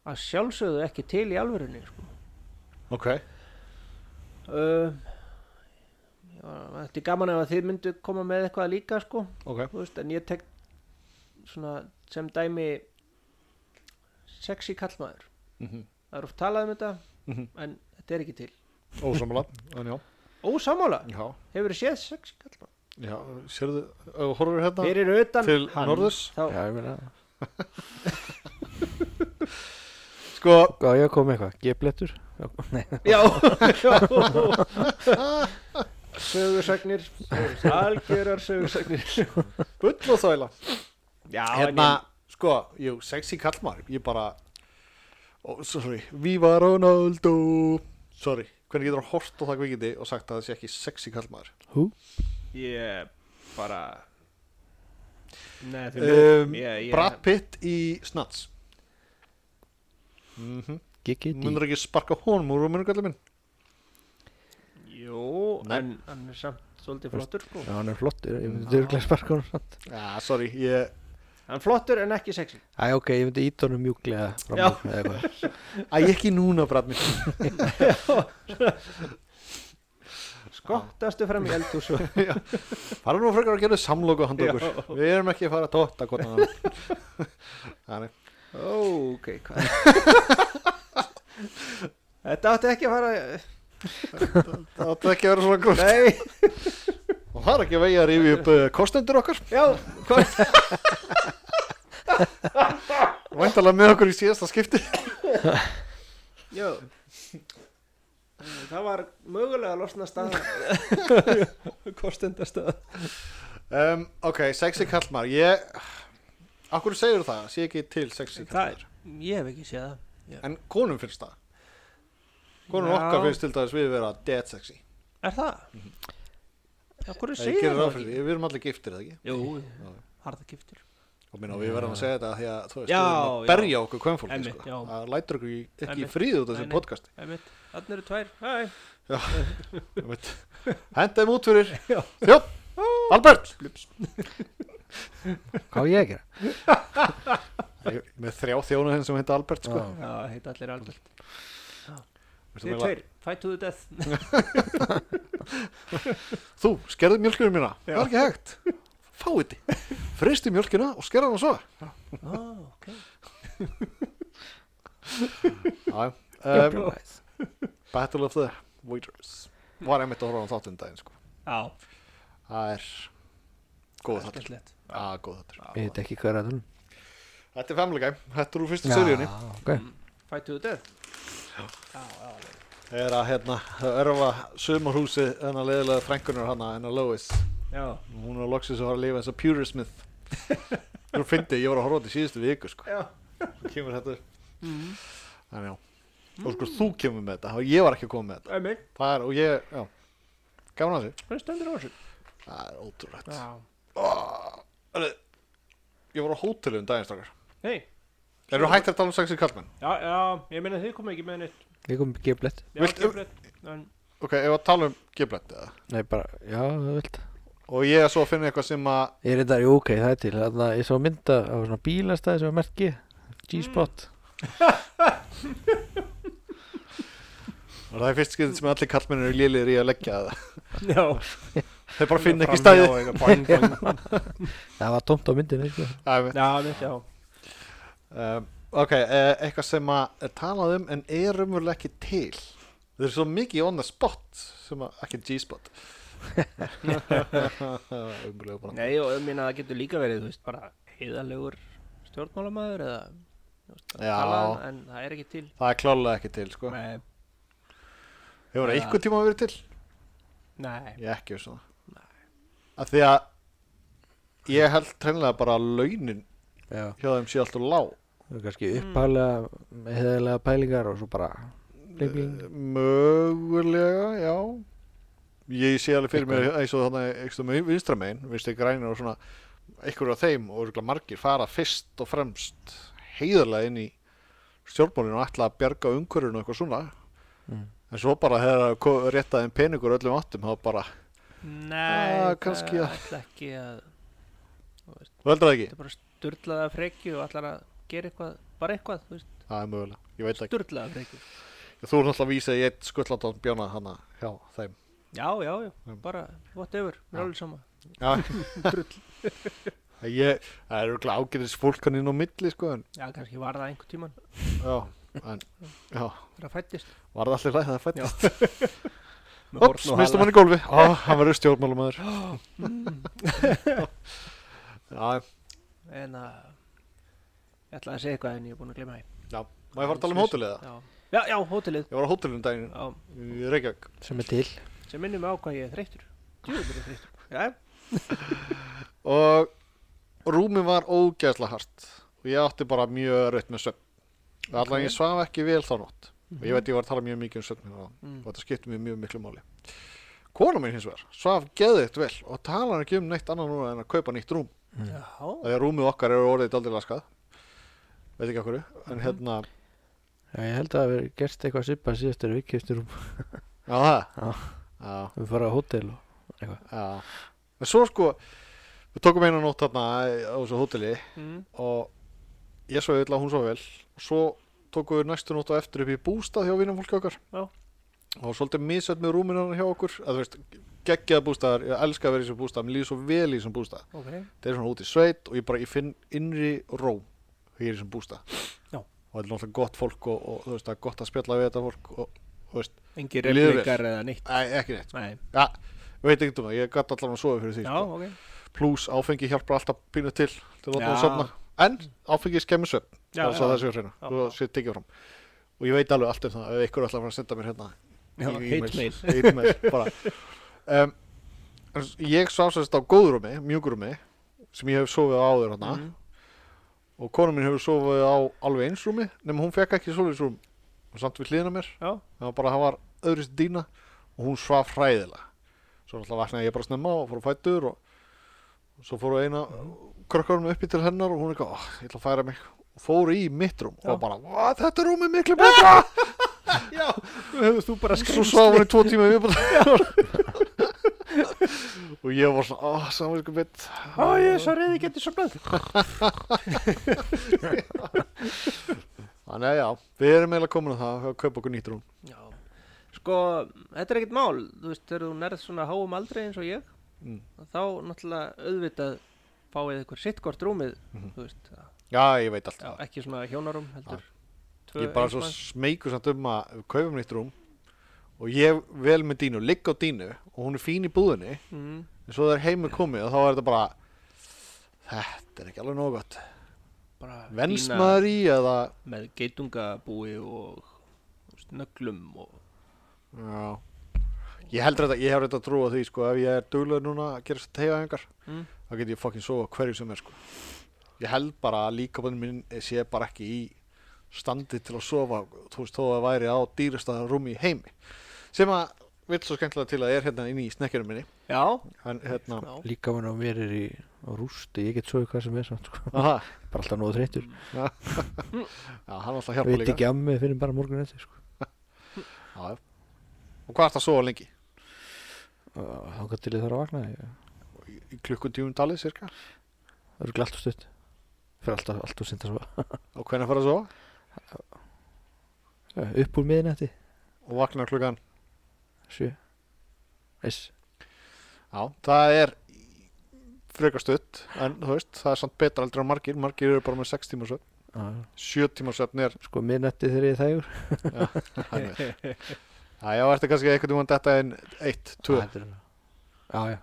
S1: að sjálfsögðu ekki til í alvörunni sko.
S2: ok
S1: uh, já, Þetta er gaman ef að þið myndu koma með eitthvað líka sko
S2: Ok,
S1: þú veist, en ég tek svona sem dæmi sexy kallmaður
S2: Mhm.
S1: það er oft talað um þetta
S2: Mhm.
S1: en þetta er ekki til
S2: ósamlega En já,
S1: ósamála,
S2: já,
S1: hefur séð sexy kallmaður
S2: já, sérðu, uh, horfur hérna
S1: fyrir utan
S2: til
S1: hann,
S2: norðurs?
S1: þá,
S3: Já, ég meina
S2: Sko,
S3: Hvað ég að koma með eitthvað? Geblettur? Nei,
S1: já, já sögursagnir algjörar sögursagnir
S2: bull og þvæla
S1: já,
S2: Hérna, sko, jú, sexy kallmar Ég bara oh, Sorry, Viva Ronaldo Sorry, hvernig getur hann hort á það kvikindi og sagt að það sé ekki sexy kallmar
S3: hú?
S1: ég, ég bara Nei, því miður,
S2: um,
S1: ég, ég,
S2: Brad Pitt í Snats mm
S3: Gigi D?
S2: Munur ekki sparka honum úr rúminu kallið minn
S1: Jú,
S2: Nei.
S1: en hann er samt svolítið flottur sko.
S3: Já, hann er flottur, ég myndi dörglega sparka hún samt
S2: Já, sorry, ég
S1: Hann er flottur en ekki sexy
S3: Æ, ok, ég myndi ít honum mjúklega fram
S1: Já.
S3: úr eða eitthvað
S2: Æ, ekki núna, bræð minn
S1: Skottastu fram í eldhús og-
S2: Fara nú frekar að gera samloku handa okkur
S1: Já.
S2: Við erum ekki að fara að tóta hvort hann Þannig,
S1: Ó, Ok, hvað Þetta átti ekki að fara
S2: það áttu ekki að vera svona grúst
S1: Nei,
S2: Og það er ekki að vegi að rífi upp uh, kostendur okkar
S1: já hvort,
S2: Væntalega með okkur í síðasta skipti
S1: já. Það var mögulega að losna staða Kostenda staða
S2: um, Ok, sexy kallmar Ég, akkur segir það Sé ekki til sexy kallmar
S1: Ég hef ekki séð það
S2: En konum finnst það Konum
S1: Já.
S2: okkar finnst til dæmis við vera dead sexy
S1: Er það? Já, hverju
S2: Ég
S1: segir
S2: Mhm. gerir
S1: það
S2: það fyrir því, við erum allir giftir eða ekki
S1: Jú, harða giftur
S2: og minna, við verðum að segja þetta því að þú veist,
S1: Já,
S2: við verðum að
S1: já.
S2: berja okkur kvennfólki
S1: Einmitt,
S2: sko.
S1: já.
S2: það lætur okkur í- ekki í
S1: Einmitt.
S2: fríð út af
S1: Nei,
S2: þessu
S1: nei.
S2: podcast
S1: Einmitt, þannig eru tvær Hæ,
S2: hendaðum út fyrir þjópp, Albert
S1: blups
S3: Hvað á ég að gera?
S2: Ég- með þrjá þjónu henn sem henda Albert sko.
S3: Já.
S1: Já, heit allir Albert
S2: Veistu
S1: Þið
S2: meila-
S1: tveir, fight to the death
S2: þú, skerðu mjölkunum mína,
S1: Já.
S2: það er ekki hægt fáið þið fristi mjölkina og skerða hann svo
S1: ah, okay.
S2: Já, um,
S3: Improvise.
S2: Battle of the Waiters Var einmitt að horfa á þáttun daginn sko
S1: Já,
S2: Það er góð þáttur
S1: skemmtilegt.
S2: Já, góð þáttur
S3: Ég veit ekki hvað er að tala um.
S2: Þetta er Family Guy, þetta er úr fyrstu seríunni
S3: ok.
S1: Fight to the death Já, já, já.
S2: Er að hérna örfa sumarhúsið hennar leiðilega frænkunar hana hennar Lois
S1: já.
S2: Hún er loksins að fara að lifa eins og Pewter Smith Þú fyndi, ég var að horfa á þetta í síðustu viku sko
S1: já.
S2: Svo Kemur þetta upp.
S1: Mm.
S2: Þannig já Og sko þú kemur með þetta, ég var ekki að koma með þetta
S1: Það er mig,
S2: Það er, og ég, já Gaman að þessu
S1: það stendur á þessu
S2: Það er ótrúlegt
S1: Já,
S2: Herðu, Ég var á hótelum daginn strákar
S1: hei
S2: Erum við hægt að tala um sexi kallmenn?
S1: Já, já, ég meina þið komið ekki með neitt
S3: Ég kom ekki að blett.
S1: Já,
S2: Viltu-
S1: Gilbrett, en,
S2: Ok, ef að tala um geflætt eða
S3: Nei, bara, já, það vilt.
S2: Og ég er svo að finna eitthvað sem að
S3: Ég er þetta, jú, ok, það er til. Þannig að ég sá mynda á svona bílastæði sem var merki. G-spot.
S2: og Það er fyrst skiptið sem allir kallmenn eru lélir í að leggja það
S1: Já,
S2: Þeir bara finna ekki stæði
S3: Það var tómt á myndinni, sko.
S1: já, mitt, já
S2: um, Ok, eh, eitthvað sem að er talað um en er umverulega ekki til Þeir eru svo mikið on the spot sem að, ekki G-spot Umverulega bara
S1: Nei, og ég meina það getur líka verið, þú veist, bara heiðalegur stjórnmálamæður eða þú veist, að
S2: Já.
S1: tala, en um það er ekki til
S2: Það er klálega ekki til sko
S1: Nei,
S2: Hefur það
S1: Ja.
S2: eitthvað tíma verið til?
S1: nei
S2: Ég er ekki veist það Af því að ég held treinlega bara að launin
S3: Já.
S2: hjá þeim sé alltaf lág
S3: Það var kannski
S2: Mm.
S3: upphálega heðalega pælingar og svo bara uh, bling bling.
S2: Mögulega, já Ég sé alveg fyrir mér eins og þannig eitthvað með vinstra megin, vinstri grænir og svona einhverju af þeim og örugglega margir fara fyrst og fremst heiðarlega inn í stjórnmálinu og ætla að bjarga umhverjunu og eitthvað svona
S3: Mm.
S2: en svo bara þegar réttaðin peningur öllum áttum þá bara,
S1: Nei,
S2: Ah,
S1: það
S2: kannski að-
S1: ætla ekki að
S2: þú heldur það
S1: þetta
S2: ekki?
S1: er bara sturlaða frekju og ætlar að gera eitthvað, bara eitthvað, þú veist,
S2: Það er mögulega, ég veit það ekki
S1: sturlaða frekju
S2: Þú er náttúrulega að vísa í eitt skullandan bjána hana hjá þeim
S1: Já, já, já,
S2: Mm.
S1: bara whatever, mér
S2: Já.
S1: er alveg sama
S2: Já, ég, það eru ágæðis fólkan inn á milli sko en,
S1: Já, kannski var það einhvern tíman
S2: já, en, já
S1: þegar það fættist
S2: Var það allir læg það fætt?
S1: Já.
S2: Ops, mistum hann í gólfi Á, hann verður stjórnmálumæður Mm. Já,
S1: En að, ég ætlaði að segja eitthvað en ég er búin að glemma því
S2: já Má ég fara að tala um hótelið það?
S1: Já, já, já hótelið
S2: Ég var á hótelinu um daginn
S1: Já,
S2: í Reykjavík
S3: Sem er til.
S1: sem minnir mig á hvað ég er þreyttur djúður er ég þreyttur já,
S2: Og rúmið var ógeðslega hart Og ég átti bara mjög rautt með svefn Allan
S1: Ok.
S2: ég svaf ekki vel þá nótt Og ég veit ég var að tala mjög mikið um svefn og,
S1: mm.
S2: og þetta skipti mér mjög miklu máli Kona mín hins vegar svaf geðið vel Og tala ekki um neitt annað núna en að kaupa nýtt rúm
S1: já,
S2: Þegar rúmið okkar eru orðið daldið laskað Veit ekki okkur En hérna,
S3: Já, ég held að það hafi gerst eitthvað sippa síðastur vikifstur um
S2: já það
S3: Já.
S2: Já,
S3: við fara á hótel og...
S2: Já, en svo sko við tókum eina nótt þarna á þessu hóteli
S1: mm.
S2: og ég svo illa, hún svo vel og svo tókum við næstu nótt á eftir upp í bústað hjá vinnum fólki okkar
S1: Já.
S2: og var svolítið misöld með rúminan hjá okkur að þú veist, geggjað bústaðar ég elska að vera í þessum bústað, mér líður svo vel í þessum bústað
S1: ok
S2: það er svona út í sveit og ég bara ég finn innri ró hér í þessum bústað
S1: Já.
S2: og þetta er náttúrulega gott fólk og, og þú veist, það er gott að spjalla við þetta fólk og, og veist,
S1: engi
S2: Mér líður
S1: replikar eða neitt
S2: æ, ekki neitt
S1: Nei.
S2: ja, ég veit ekkert um það, ég gæti allan að sofa fyrir því
S1: já,
S2: sko
S1: ok
S2: pluss áfengi hjálpar alltaf pínu til til að láta
S1: Já.
S2: það sofna en áfengi skemmir svefn
S1: Já,
S2: það er svo
S1: já.
S2: það séu hreina
S1: Já,
S2: þú
S1: já.
S2: séu tekið fram og ég veit alveg allt um það ef ykkur ætlar að fara að senda mér hérna
S1: Já,
S2: í- í
S1: hate
S2: e-mail,
S1: mail.
S2: hate mail, bara. um, en s- ég svaf sérst á góðrumi mjúgrumi sem ég hef sofið á áður hérna
S1: Mhm.
S2: og konum minn hefur sofið á alveg eins rúmi nema hún fekk ekki svoleiðis rúm og samt við hliðina á mér
S1: já,
S2: það var bara, það var öðru sér dýna og hún svaf hræðilega svo náttúrulega vaknaði ég bara snemma og fór að fættur og og svo fór eina krökkunum uppi til hennar og hún er ekki, oh, ég ætla að færa mig og fór í mitt rúm og bara, "Vá, þetta rúm er miklu betra
S1: já hefur þú bara
S2: svo svaf hún í tvo tíma við og ég var svona, oh, samvinsku mitt
S1: á, ég er svo reyði getið sopnað
S2: þannig að já, við erum eiginlega komin að það að kaupa okkur nýtt rúm
S1: já, sko, þetta er ekkert mál þú veist, þegar þú nærð svona háum aldrei eins og ég
S2: Mm.
S1: þá náttúrulega auðvitað fáið ykkur sittkort rúmið
S2: Mhm.
S1: þú veist, að-
S2: já, ég veit allt það
S1: ekki svona hjónarum heldur tvö
S2: ég er bara svo
S1: einsmanns.
S2: smeykur samt um að við kaupum nýtt rúm og ég vel með dínu, ligg á dínu og hún er fín í búðinni
S1: mm,
S2: en svo þegar heim er komið og þá er þetta bara þetta er ekki alveg nóg gott
S1: bara
S2: venst
S1: fína
S2: maður í eða
S1: með geitungabúi og þú veist, nöglum og
S2: já. ég heldur þetta, ég hef þetta að trúa því sko, ef ég er duglega núna að gera þess að tega engar
S1: mm,
S2: þá get ég fokkin sofa hverju sem er sko. ég held bara að líkabann minn sé bara ekki í standi til að sofa þú veist þó að væri á dýrastaða rúmi í heimi sem að vill svo skemmtilega til að er hérna inn í snekkjunum minni
S1: já,
S2: en hérna
S1: já.
S3: Líka mann á mér er í á rústi, ég get svoðið hvað sem er samt sko.
S2: aha,
S3: bara alltaf nóðu þreytur,
S2: já, hann alltaf hjálpa
S3: veit
S2: líka
S3: ekki að mig fyrir bara morgun eftir sko.
S2: já, já. og hvað er það að sofa lengi?
S3: þá gott til ég þarf að vakna ég.
S2: í, í klukkutíum talið cirka
S3: það eru glætt og stutt fyrir alltaf, alltaf sent að svo
S2: og hvernig að fara að sofa
S3: upp úr miðinætti,
S2: og vakna klukkan
S3: sjö eins,
S2: já, það er frekar stutt en þú veist, það er samt betra aldrei á margir margir eru bara með 6 tíma svefn
S3: á,
S2: 7 tíma svefn er
S3: sko miðinætti þegar ég er þægur
S2: hann er Já, já, ertu kannski einhvern veginn þetta en eitt, tvö
S3: Á, þetta er- já, já,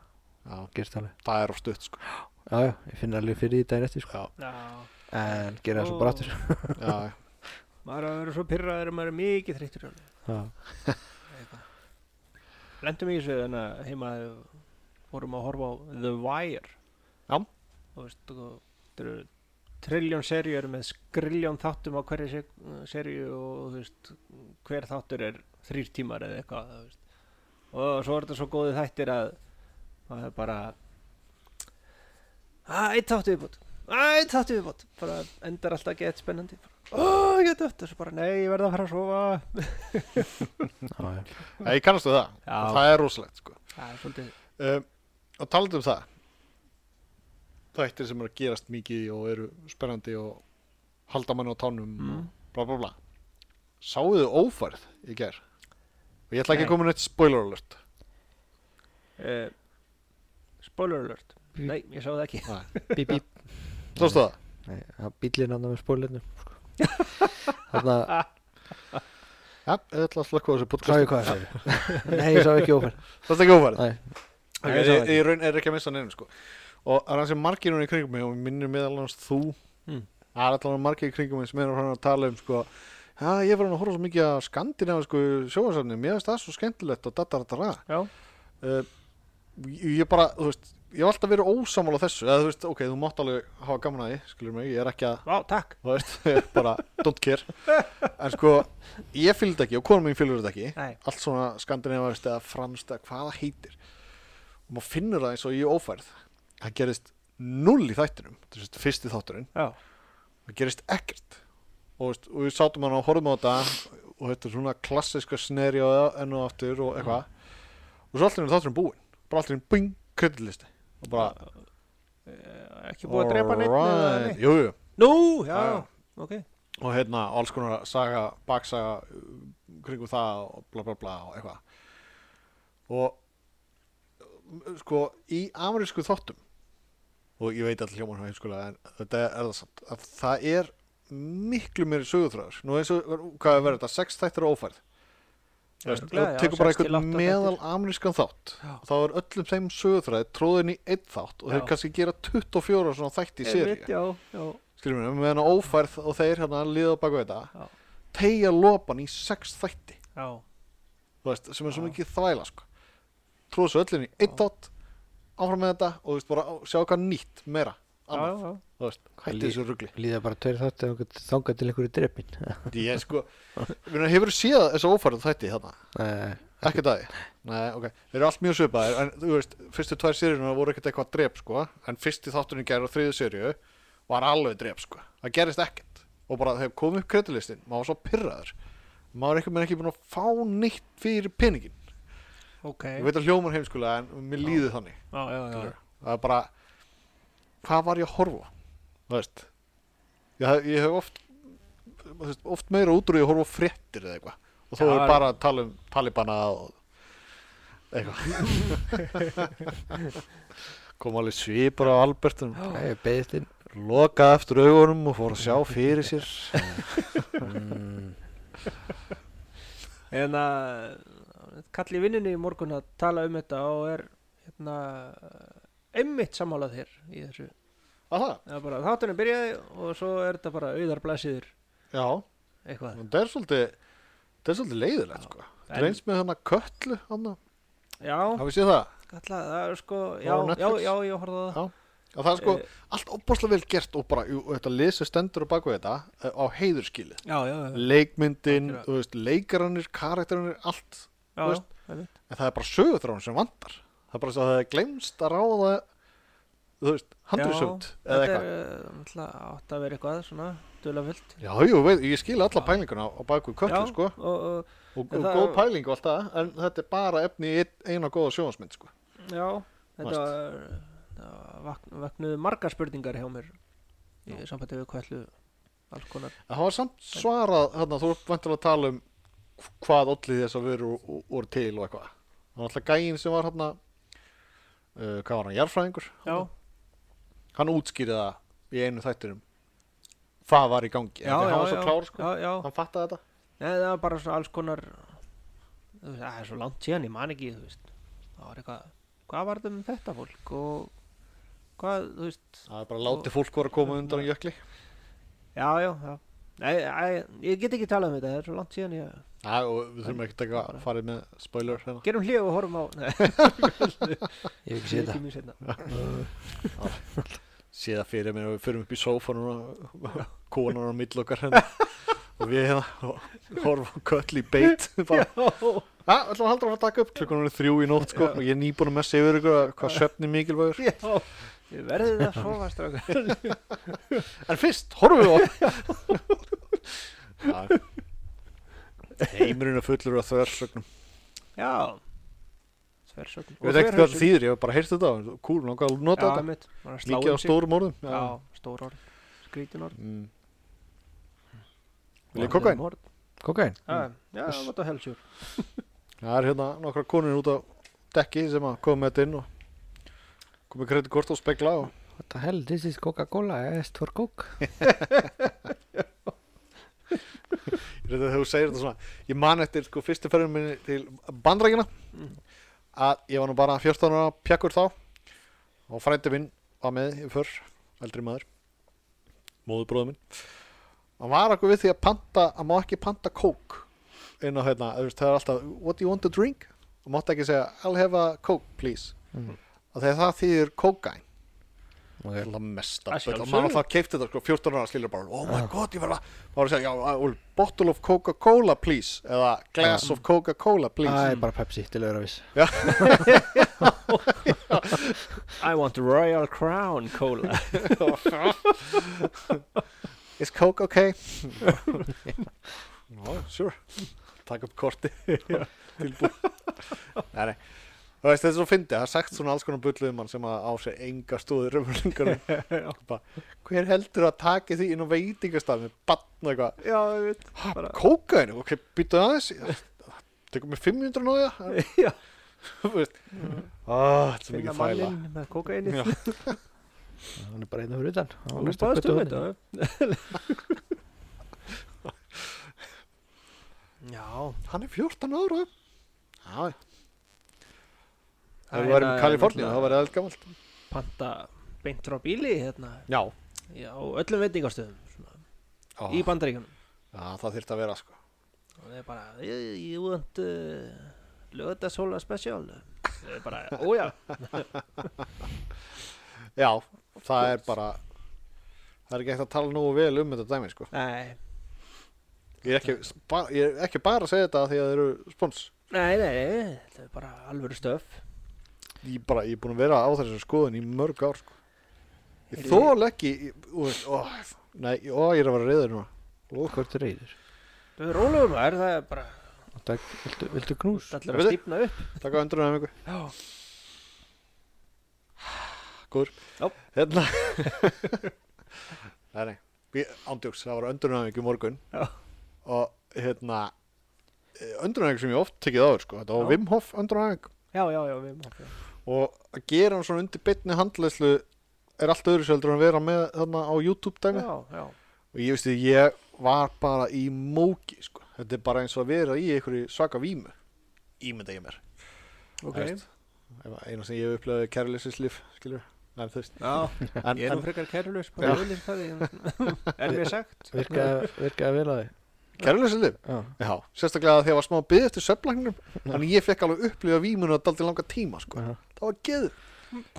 S2: Já,
S3: gerst alveg
S2: það er of stutt sko
S3: já, já, ég finn alveg fyrir því daginn eftir sko.
S2: Já,
S1: já.
S3: en gera það svo
S1: Ó.
S3: bara aftur
S2: já,
S1: maður er að vera svo pyrraður og maður er mikið þreyttur alveg.
S3: já,
S1: lendum í þessu þannig að heima og vorum að horfa á The Wire
S2: Já.
S1: og veist og þetta eru trilljón serjur með skriljón þáttum á hverju se serju og þú veist hver þáttur er þrýr tímar eða eitthvað þú veist. og svo er þetta svo góði þættir að það er bara að eitt þáttu viðbútt að eitt þáttu viðbútt bara endar alltaf að geta spennandi ó, ég geta eftir, svo bara nei, ég verð að fara að sofa
S3: já, já.
S2: já Ég kannastu það,
S1: Já.
S2: Og það er rosalegt sko
S1: það er svolítið
S2: um, Og talandi um það Þættir sem eru að gerast mikið og eru spennandi og halda manni á tánum
S1: Mm.
S2: og bla bla bla Sáuðu ófærð í gær og ég ætla
S1: Nei.
S2: ekki að koma með neitt spoiler alert
S1: uh, Spoiler alert
S3: Bí-
S1: Nei, ég sá það ekki
S3: bíp, bíp
S2: Sástu það?
S3: Nei, bílinn andan með spólinnum sko. Þannig að
S2: Já, ég ætla að slökka á þessu
S3: sá ég
S2: podcast
S3: hvað það segir Nei, ég sá ekki óferð
S2: Sástu ekki ófærð?
S3: Nei,
S1: Nei,
S2: Okay,
S1: ég
S2: ég,
S1: sá
S2: ég,
S1: það ekki.
S2: raun er ekki að missa neina sko. og það er hans margir núna í kringum mig og minnir meðal hans þú
S1: Mm.
S2: það er allan margir í kringum mig sem er að fara að tala um sko, já, ég var hann að horfa svo mikið að skandinav sko, sjóðarsafni, mér finnst það svo skemmtilegt og dataratara
S1: Já,
S2: uh, ég ég bara, þú veist ég hef alltaf verið ósamála þessu eða þú veist, ok, þú mátt alveg hafa gaman að því skilur mig, ég er ekki að
S1: Vá, takk
S2: þú veist, ég er bara don't care en sko, ég fylgd ekki og konum mín fylgur þetta ekki
S1: Nei,
S2: allt svona skandinavist eða franskt eða hvað það heitir og maður finnur það eins og ég ófærð það gerist null í þættinum þetta er sem sagt fyrsti þátturinn,
S1: já,
S2: það gerist ekkert og, veist, og við sátum hann og horfum á þetta og þetta er svona klassiska sneri og enn og aftur og eitthvað og svo allir er þátturinn búinn bara allir er bing, kredilisti og bara
S1: Eh, ekki búið að drepa neitt eða
S2: alright, Ah.
S1: neitt
S2: jú, jú.
S1: Nú, já,
S2: Já, já.
S1: ok
S2: og hérna alls konar saga, baksaga uh, kringum það og bla bla bla og eitthvað og uh, sko í amerísku þáttum og ég veit allir hljóman heimskulega en þetta er það samt að það er miklu meiri sögutræður nú eins og hvað er verið þetta, sex þættir og ófærð þú veist,
S1: Örugglega,
S2: þú
S1: já,
S2: tekur bara
S1: sex til
S2: einhvern
S1: átta
S2: meðal amerískan þátt
S1: Já.
S2: þá er öllum þeim sögutræði tróðin í einn þátt og
S1: Já.
S2: þeir kannski gera 24 svona þætti í
S1: Einmitt,
S2: seríu
S1: Já, já,
S2: skilur mér, meðan að ófærð og þeir hérna liða á baku þetta
S1: Já.
S2: tegja lopan í sex þætti
S1: já
S2: þú veist, sem er
S1: Já.
S2: svo mikið þvæla sko. tróðu svo öllinni, einn
S1: Já.
S2: þátt áfram með þetta og þú veist bara á- sjá eitthvað nýtt meira,
S1: Já,
S2: annað,
S1: já,
S2: þú veist, hætti
S3: Lí-
S2: þessu rugli
S3: líða bara tveir þátt eða þangað til einhverju drefin
S2: ég sko, við hefur séð þessu ófærð þætti þarna,
S3: Nei,
S2: ekki það nei, ok, þeir eru allt mjög svipaðir en þú veist, fyrstu tvær seríuna voru ekkert eitthvað drep sko, en fyrsti þátturinn gerði á þriðu seríu var alveg drep sko það gerist ekkert og bara þegar kom upp kredilistin maður var svo pyrraður maður er einhvern veginn ekki búin að fá neitt fyrir peningin
S1: ok
S2: ég veit að hljómar heimskulega en mér líði þannig
S1: Já, já, já,
S2: skilurðu. það er bara hvað var ég að horfa á? þú veist ég, ég hef oft þú veist, oft meira útrúið að horfa á fréttir eða eitthvað og þó
S1: Já,
S2: er
S1: en-
S2: bara að tala um talibana og eitthvað kom alveg svipur á Albertum
S1: Já,
S3: ég beðist inn
S2: lokaði eftir augunum og fór að sjá fyrir sér
S3: mm,
S1: en að kall í vinnunni í morgun að tala um þetta og er hérna einmitt sammálað þér í þessu
S2: að það,
S1: það er bara þáttunum byrjaði og svo er þetta bara auðar blæsiður
S2: já,
S1: eitthvað
S2: það er svolítið það er svolítið leiðilegt sko
S1: En-
S2: það reynst með hana köllu hana.
S1: já,
S2: hafið séð það,
S1: kalla, það er sko
S2: Það
S1: já,
S2: var á
S1: já,
S2: Netflix.
S1: já, ég horfði á það
S2: Já, að það er sko
S1: Eh,
S2: allt opaslega vel gert og bara og þetta lesi stendur á baku þetta eh, á heiðurskili
S1: já, já, já,
S2: leikmyndin,
S1: Akkurat.
S2: þú veist, leikaranir karakterunir, allt
S1: já,
S2: þú
S1: já,
S2: veist.
S1: einmitt.
S2: en það er bara sögutráðan sem vantar það er bara svo að það er glemst að ráða þú veist, handriðsönd
S1: Já,
S2: eða
S1: þetta er
S2: eitthvað
S1: eh, náttúrulega átt að vera eitthvað svona dulafullt
S2: Já, jú, veit, ég skil alla pælinguna á baku köllu, sko,
S1: og, og,
S2: og, og
S1: en það-
S2: góð pæling og allt það, en þetta er bara efni í ein- eina góða sjónsmynd, sko.
S1: já, þetta
S2: Vast.
S1: var það vak- vaknuðu margar spurningar hjá mér í sambandi við kveldu alls konar
S2: En það var samt svarað, þarna, þú ert vantilega að tala um hvað allir þess að veru voru til og eitthvað. Það var alltaf gæinn sem var hérna, uh, hvað var hann, jarfræðingur?
S1: já,
S2: Hann útskýrði það í einu þættinum, hvað var í gangi.
S1: já,
S2: Hann
S1: já,
S2: var svo
S1: já,
S2: klár, sko,
S1: já, já.
S2: hann fattaði þetta.
S1: Nei, það var bara svona alls konar þú veist, Það er svo langt síðan, ég man ekki þú veist. Það var eitthvað Hvað var þetta um þetta fólk og hvað, þú veist
S2: Það er bara látið fólk voru að koma undan um jökli.
S1: Já, já, já Nei, æ, ég get ekki talað um þetta, það er svo langt síðan ég...
S2: Já, og við þurfum ekki að fara með spoiler hérna.
S1: Gerum hlið og horfum á Nei,
S3: ég hef ekki séð
S1: mjög seinna.
S2: sé það fyrir mér og við förum upp í sófanum og konan á mill okkar hérna og við hérna og horfum á köll í beit bara,
S1: Já,
S2: að, ætlum að haldur að fara að taka upp klukkan er þrjú í nótt sko
S1: Já.
S2: og ég er nýbúin að messa yfir ykkur að hvað svefni mikilvægur
S1: já Við verðum að sofa strákar
S2: en fyrst, horfum við á Já. heimurinn er fullur af þversögnum
S1: Já Þversögn
S2: ég veit ekki hvað það þýðir, ég hef bara heyrt þetta kúl, nokkað að nota
S1: Já,
S2: þetta
S1: mitt
S2: mikið á stórum orðum
S1: Já, stór orð Skrítin orð
S2: Mm. Vil ég kokain?
S1: Orð.
S3: kokain
S2: Mm.
S1: Já, já, what the hell, sure
S2: Það er hérna nokkra konur út á dekki sem að koma með þetta inn og komið kreditkort og spegla og
S3: what the hell, this is Coca-Cola, yes, for Coke
S2: ég reyndi að þegar þú segir þetta svona ég man eftir sko fyrstu ferðin minni til bandrækina að ég var nú bara 14 ára pjakkur þá og frændi minn var með í fyrr, eldri maður móðurbróður minn hann var okkur við því að panta að má ekki panta kók inn á hérna, þú veist, það er alltaf what do you want to drink? og mátti ekki segja I'll have a coke please
S3: Mm.
S2: og þegar það þýðir kókain
S3: okay.
S2: Það er mest
S1: Að
S2: að
S1: sjálfsögðu.
S2: maður alltaf keipti þetta sko 14 ára skilur bara oh my god ég verða maður að segja já I will bottle of Coca-Cola please eða glass of Coca-Cola
S3: það
S2: please Mm.
S3: er bara Pepsi til öðra viss
S1: I want Royal Crown Cola
S2: is Coke okay no sure takk upp korti tilbúið nei nei þú veist þetta er svo fyndið það er sagt svona alls konar bulluðum mann sem að á sig enga stóði röfurlingar hver heldur að taki því inn á veitingastafn með batn og eitthvað
S1: Já, ég veit
S2: Ha,
S1: bara-
S2: Kókainu, ok, býttu aðeins Tekum mig 500 nóðja
S1: Já,
S2: Þú veist ah, Þetta er
S1: finna
S2: mikið þæla
S1: manninn með kokaini
S2: Já.
S3: hann er bara einu fyrir utan Á
S1: Þú
S3: næsta
S1: baðst um
S3: götuhorni.
S1: þetta Já
S2: Hann er 14 ára Já, ef
S1: Það
S2: við værum
S1: hérna
S2: í
S1: er
S2: Kaliforníu
S1: náttúrulega-
S2: þá verið eldgamalt
S1: Panta beint frá bíli hérna
S2: Já,
S1: Já, á öllum veitingastöðum svona,
S2: Ó,
S1: Í bandaríkjunum
S2: já það þyrfti að vera sko
S1: Og það er bara "Eh, You want uh, Lögðasóla special Það er bara, ója
S2: Já, það er bara Það er ekki ekkert að tala nógu vel um þetta dæmi sko
S1: Nei,
S2: Ég er ekki, ba ég er ekki bara að segja þetta af því að það eru spons
S1: nei, nei, nei Það er bara alvöru stöf
S2: Ég, bara, ég er búin að vera á þessum skoðun í mörg ár sko. Ég
S1: Heyrðu,
S2: þól ekki ég- Þú veist, ó, Nei, ó, ég er að vera reyður núna
S3: hvort er reyður
S1: Það er rólegur maður, það er bara
S3: viltu, viltu knús?
S1: allir að
S2: Veitu?
S1: stífna upp
S2: Takk á öndrunum ykkur
S1: Já
S2: Góður
S1: Já.
S2: Hérna Nei, nei Við- Ándjóks, það var öndrunum ykkur morgun
S1: Já.
S2: Og hérna Öndrunum ykkur sem ég oft tekið áður sko. Þetta var
S1: Já.
S2: Wim Hof öndrunum
S1: Já, já, já, við máum
S2: og og að gera hann svona undir beinni handlæslu er allt öðru seldur en að vera með þarna á YouTube dæmi
S1: já, já,
S2: og ég veist því, ég var bara í móki sko. þetta er bara eins og að vera í einhverju svaka vímu ímynda ég mér
S1: ok
S2: Þú veist, ef- eina sem ég hef upplegaði kærleysislíf skilur Nei, þú veist,
S1: Já,
S2: en,
S1: ég er nú
S2: en
S1: frekar kærlust
S2: Já.
S1: bara auðvitað það í- er mér sagt
S3: virkaði virka vel að
S2: kærleysislíf
S3: því
S2: já, sérstaklega þegar ég var smá byggð eftir söfnlæknum, þannig ég fekk alveg upplifa vímuna að daldi langa tíma, sko
S3: Já.
S2: það var geður,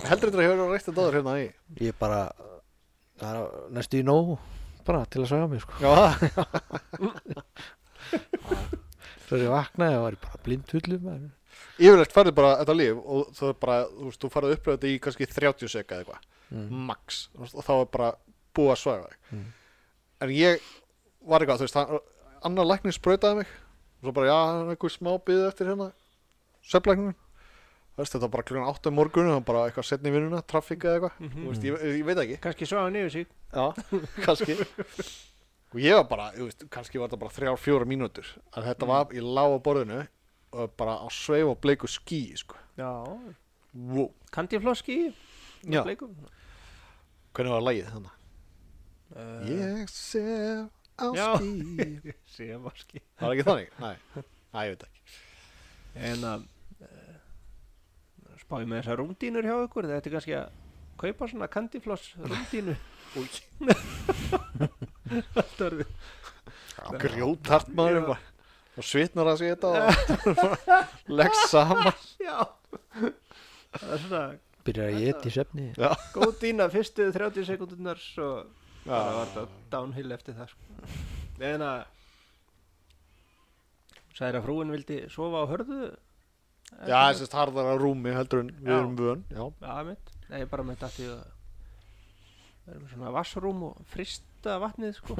S2: heldur þetta að hefur reykt að dáður hérna í,
S3: Ég bara það er næstu í nóg bara til að svaga mig sko
S2: já, það
S3: Svo er ég vaknaði og var ég bara blind hullum Já,
S2: yfirlegt færðu bara þetta líf og það er bara, þú veist, þú færðu að upplifa þetta í kannski 30 seka eða eitthvað
S3: Mm.
S2: max, Þú veist, og þá er bara búið að svæfa þig
S3: Mm.
S2: en ég var eitthvað, þú veist, hann, annar læknir sprautaði mig og svo bara, já, það er einhver smá byggði eftir hérna svefnlæknir þú veist, þetta var bara klukkan 8 um morgun og bara eitthvað setni vinnuna, traffík eða eitthvað
S1: Mhm.
S2: þú veist, ég, ég veit það ekki
S1: kannski svo hann yfir sig
S2: já, kannski og ég var bara, þú veist, kannski var þetta bara þrjár, fjóra mínútur að þetta var, ég lá á borðinu og bara á sveif og bleiku skí sko.
S1: já,
S2: wow.
S1: kandifloski
S2: Já.
S1: bleikum
S2: Hvernig var lagið þannig? Eh.
S1: uh,
S2: Ég sef á
S1: Já.
S2: skí
S1: Eh, sem var skýr
S2: Var ekki þannig? Nei, Æ, ég veit ekki
S1: en að eh, uh, spáði með þessar rúndínur hjá ykkur þetta er kannski að kaupa svona kandifloss rúndínu þetta er við
S2: Grjótart maður
S1: Já.
S2: bara og svitnar að sé þetta og leggst saman
S1: já það er svona
S3: byrjar að geta í svefni
S1: góð dína fyrstu 30 sekundunar svo bara var
S2: Já,
S1: þetta downhill eftir það sko. en að sagði að frúin vildi sofa á hörðu
S2: já þessist harðara rúmi heldur en við
S1: Já.
S2: erum vön Já,
S1: já mitt, nei bara með þetta því að það er með svona vassrúm og frista vatnið sko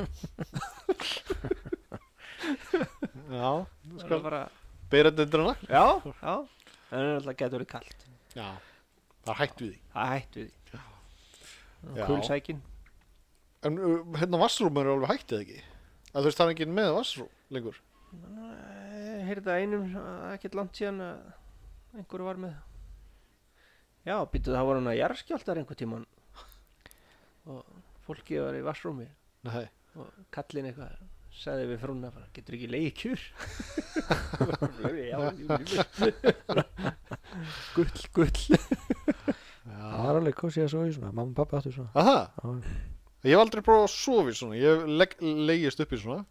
S2: já
S1: það
S2: skal
S1: er bara,
S2: byrja þetta hana
S1: já, já en það er alltaf getur verið kalt
S2: Já, það er hætt við því
S1: það hættu því
S2: Já.
S1: kulsækin
S2: En uh, hérna vassrúm er alveg hætt eða ekki að þú veist það er enginn með vassrúm lengur
S1: heyrði að einum ekkert langt síðan að einhver var með já, býttu það voru hann að jarðskjáltar einhver tíman og fólki var í vassrúmi
S2: Nei,
S1: og kallin eitthvað sagði við frúna bara, getur ekki leið í kjur já, jú, jú. gull, gull
S2: já
S3: Það var alveg kosið að svo í svona Mamma og pappa áttu svona
S2: Aha,
S3: Já,
S2: ég hef aldrei prófað að sofa í svona Ég hef legg, legist upp í svona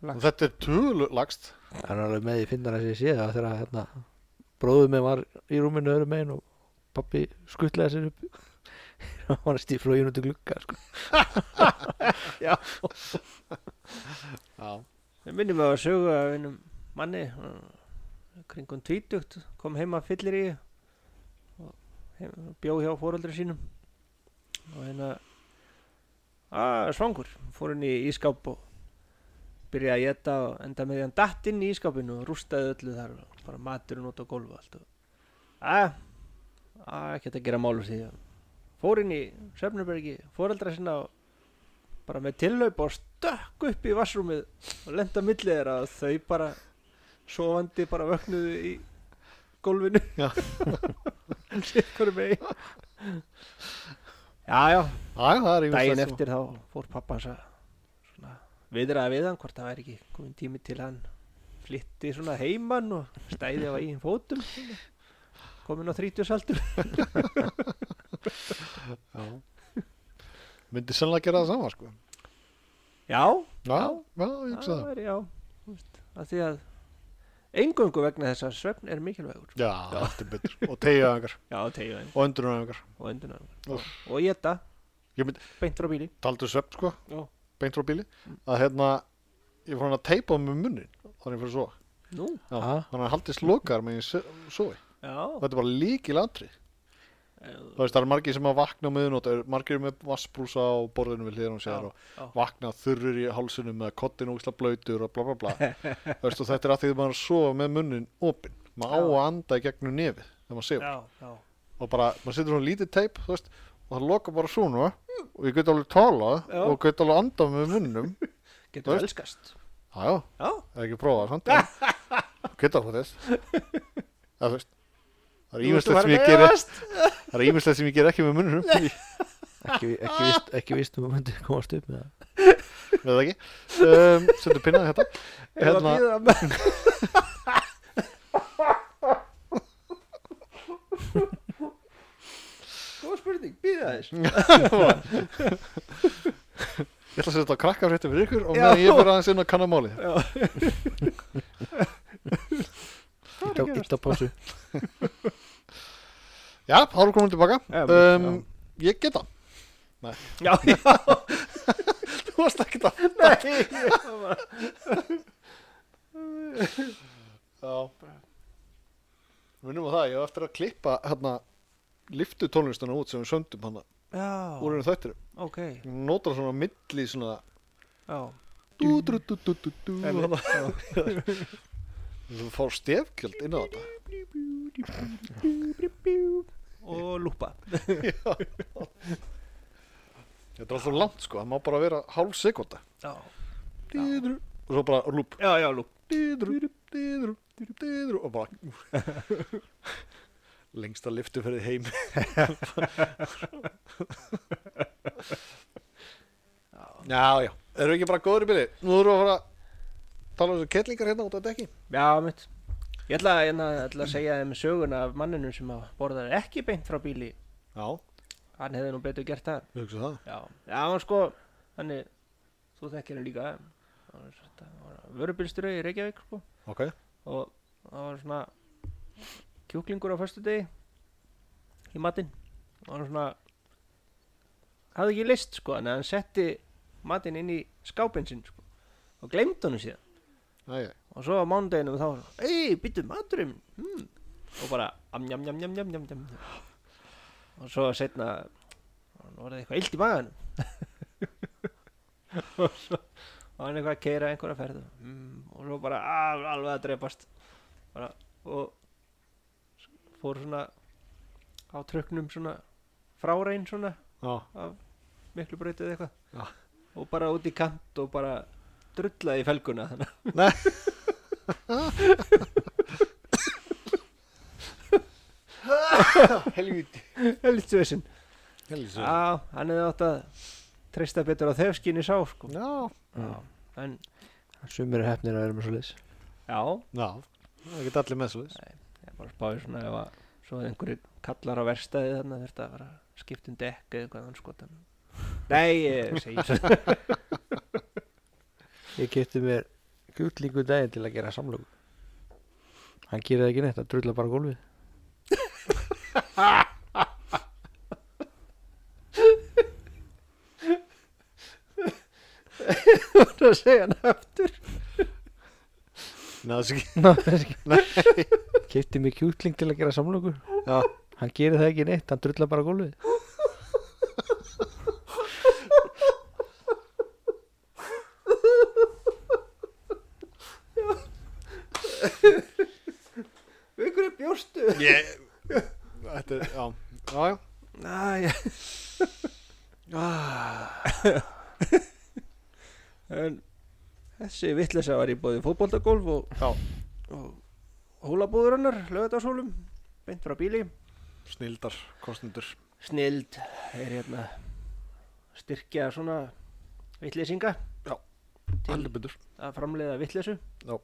S1: Lagst.
S2: Og þetta er tölulagst
S3: Það er alveg með í fyndan að sé sé það þegar að, hérna, bróðum minn var í rúminu öðrum megin og pappi skuttlaði sér upp og hann stíflóði út í glugga sko.
S2: Já,
S1: Ég minnum að að sögu af einum manni eh, kringum tvítugt kom heima fyllir í og heim, bjó hjá fóreldri sínum og hérna að svangur fór hann í ískáp og byrjaði að geta og enda með því hann datt inn í ískápinu og rústaði öllu þar og bara maturinn út á gólfu og allt og að, að ekki að gera málur því fór inn í Söfnurbergi fóreldra sinna og bara með tillaup og stökk upp í vassrúmið og lenda millið þeirra að þau bara sofandi bara vöknuðu í gólfinu
S2: Já.
S1: sittkori megi já já,
S2: Æ, það er ýmislegt sko.
S1: daginn
S2: sem-
S1: eftir þá fór pappa hans að svona viðraða við hann hvort það væri ekki komin tími til hann flytti svona heiman og stæði á eigin fótum komin á 30 saldur
S2: Já. Myndi sennilega gera það sama sko Já,
S1: já,
S2: já, ég hugsa
S1: það
S2: það
S1: væri já þú veist, að því að engöngu vegna þess að svefn er mikilvægur
S2: Já, allt er betur Og tegja yngar
S1: já, tegja
S2: og undrunar yngar
S1: og endunar
S2: Úff.
S1: og geta
S2: Ég myndi,
S1: beint frá bíli
S2: taldu svepp sko
S1: Já.
S2: Beint frá bíli Að hérna, ég fór hann að teipa með munnin Þannig fyrir svo
S1: nú,
S2: Já,
S3: Ha?
S2: þannig að haldist lokaðar með ég sofi
S1: já,
S2: Þetta er bara líkil atrið þú veist, það eru margir sem að vakna á miðunótt margir eru með vassbrúsa á borðinu við hliðan og sér
S1: Já,
S2: og
S1: já.
S2: vakna þurrur í hálsunum með kottin ógisla blöytur og bla bla bla þú veist, og þetta er að því að maður er að sofa með munnin opinn, maður á
S1: Já.
S2: að anda í gegnum nefið þegar maður sefur
S1: já, já
S2: og bara, maður setur svona lítið teip þú veist, og það lokar bara svona og ég get alveg tala
S1: Hmm. Já.
S2: og get alveg anda með munnum Þú
S1: getur
S2: veist-
S1: elskast
S2: já, já,
S1: já,
S2: það er ekki prófað samt en- get alveg þess eða þú veist það er ímestlegt sem ég ger það er ímestlegt sem ég ger ekki með mununum við
S3: ekki, ekki, víst, ekki víst um að myndi komast upp með það
S2: það ekki um, setur pinnaði hérna
S1: Hérna.
S2: hérna,
S1: Góð spurning, býða þess
S2: ég ætla að setja þetta á krakkafréttum fyrir ykkur og
S1: Já.
S2: meðan ég fyrir aðeins inn að kanna máli
S3: Ítta- ítta á pásu
S2: já, þá erum við komin
S1: Já,
S2: tilbaka
S1: já.
S2: um, ég geta
S1: Já, já,
S2: þú varst ekki það
S1: nei ég var-
S2: já minnum á það, ég á eftir að klippa hérna, liftu tónlistuna út sem við sömdum hana
S1: Já,
S2: úr einu þættir
S1: ok
S2: notar svona milli svona
S1: Já,
S2: dú, dú, dú, dú, dú, dú, hana.
S1: Einmitt, já.
S2: þú fór stefkjöld inn á þetta
S1: Og lúpa
S2: þetta er alltaf langt sko, það má bara vera hálf sekunda
S1: Já,
S2: og svo bara lúp
S1: já, já lúp
S2: dýðru, dýðru, dýðru og bara lengsta liftu fyrir heim já, já erum við ekki bara góður í byrði nú þurfum við að fara að tala um þessu kettlingar hérna út af dekki
S1: Já, mitt Ég ætla, að- hérna, ég ætla að segja þeim söguna af manninu sem að borðar ekki beint frá bíli
S2: já,
S1: Hann hefði nú betur gert það
S2: við hugsa það
S1: Já, já hann sko hann er, þú þekkir hann líka hann er þetta- hann var vörubilstöru í Reykjavík sko,
S2: ok,
S1: og það var svona kjúklingur á föstudegi í matinn og hann svona hafði ekki list sko, en hann setti matinn inn í skápinn sinn sko, og gleymd honum síðan
S2: næja,
S1: og svo á mánudeginum þá var hann, ei, býttu maturinn hmm. og bara amjam, jam, jam, jam, jam, jam og svo setna hann var eitthvað illt í maganum og svo og hann eitthvað að keira einhverja ferð mm, og svo bara al, alveg að drepast bara, og s- fór svona á tröknum svona frárein svona
S2: já,
S1: miklu breytið eitthvað
S2: Já.
S1: og bara út í kant og bara drullaði í felguna þannig
S2: Nei. helvíti
S1: helvítið vissinn
S2: helvíti
S1: Já, hann hefði átt að treysta betur á þefskinni sá sko.
S2: já,
S1: Já. En,
S3: sumir er hefnir að vera með svo leis
S1: já,
S2: já, það er ekki allir með svo
S1: ég bara spáði svona ef að svo að einhverju kallar á verstaði þannig að þetta var að skipta um dekk eða eitthvað annars gott en Nei, ég segi svo
S3: ég kefti mér gullingu daginn til að gera samlöku hann gerir það ekki neitt, hann drullar bara á gólfið
S1: að segja hann aftur
S2: neða, þessi
S3: kefti mér kjúkling til að gera samlöku
S2: Já.
S3: hann gerir það ekki neitt, hann drullar bara á gólfið
S1: Við hverju bjóstu
S2: Ég Þetta er, já Já, já
S1: Næ, já Ah. En þessi vitleysa var í bóði fótboltagolf og,
S2: Já.
S1: og hólabúður hennar, lögðarshólum, beint frá bíli.
S2: Snildar kostendur
S1: snild er hérna styrkja svona vitleysinga
S2: Heldur betur
S1: að framleiða vitleysu
S2: Ó,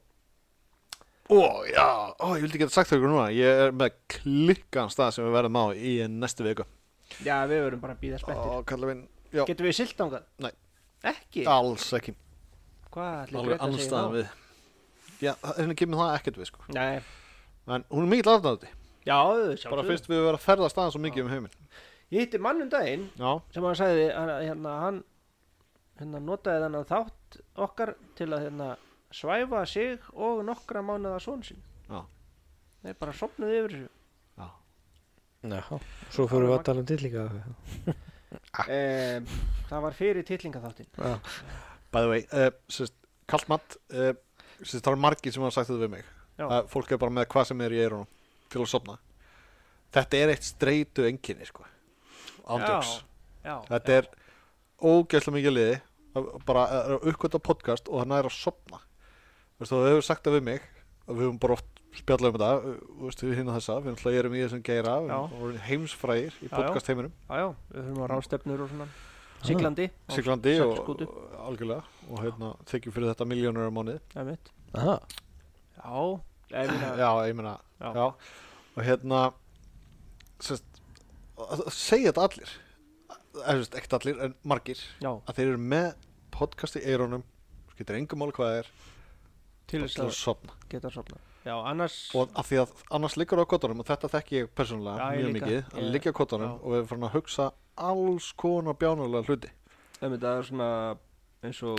S2: já Ó, ég vildi geta sagt þau ykkur núna Ég er með klikkan stað sem við verðum á í næstu viku
S1: já við verum bara að býða spettir
S2: Ó, kallar minn Já,
S1: getum við silt ángað?
S2: Nei.
S1: ekki?
S2: alls ekki
S1: hvað ætli
S2: Alveg
S1: Greta segir
S2: anstaðan
S1: þá?
S2: við Já, það- henni kemur það ekkert við sko
S1: nei,
S2: En hún er mikill aðdáðandi
S1: já
S2: Bara
S1: sjálfsögðu.
S2: fyrst við verðum að ferðast aðeins svo mikið um heiminn
S1: ég hitti mann um daginn
S2: Já,
S1: sem hann sagði að, hérna hann hérna notaði þannig þátt okkar til að hérna svæfa sig og nokkra mánuða són sín
S2: Já.
S1: þeir bara sopnuðu yfir þessu
S2: já
S3: Já. svo fyrir við að tala um dillinga
S2: Ah.
S1: eh, það var fyrir tillingaþáttin
S2: By the way, uh, sérst, kallt mat uh, sérst, það er margir sem hafa sagt þetta við mig
S1: Já.
S2: að fólk er bara með hvað sem er í eyrunum til að sofna þetta er eitt streitu enginni sko ándjóks
S1: já,
S2: þetta er ógæslega mikið liði að- bara að uppkvæmta podcast og það næra að sofna Veistu, þú hefur sagt það við mig við höfum bara oft spjallað um þetta uh, þú veist, við hinn þessa, við náttúrulega erum í þessum geira við
S1: Já.
S2: erum orðin heimsfrægir í
S1: já.
S2: podcast heiminum
S1: já, já, við höfum að rástefnur og svona siglandi á-
S2: Mm. Ah. Siglandi og
S1: Seglskútu.
S2: og algjörlega og hérna, þykjum fyrir þetta miljónur á mánuði
S1: einmitt.
S3: Aha,
S1: já, ég meina,
S2: já, ég meina
S1: Já.
S2: já. og hérna sest, að að segja þetta allir eða sest, ekkert allir, en margir
S1: já,
S2: að þeir eru með podcast í eirónum skiptir engum mál hvað það er
S1: til
S2: bara
S1: þess
S2: til
S1: að
S2: að sopna
S1: geta sopna já, annars,
S2: og af því að annars liggur á kottunum og þetta þekki ég persónulega
S1: Já, ég
S2: mjög
S1: líka.
S2: mikið að
S1: Ég-
S2: liggja á kottunum
S1: já.
S2: og við erum farin að hugsa alls konar bjánulega hluti
S1: einmitt, það er svona eins og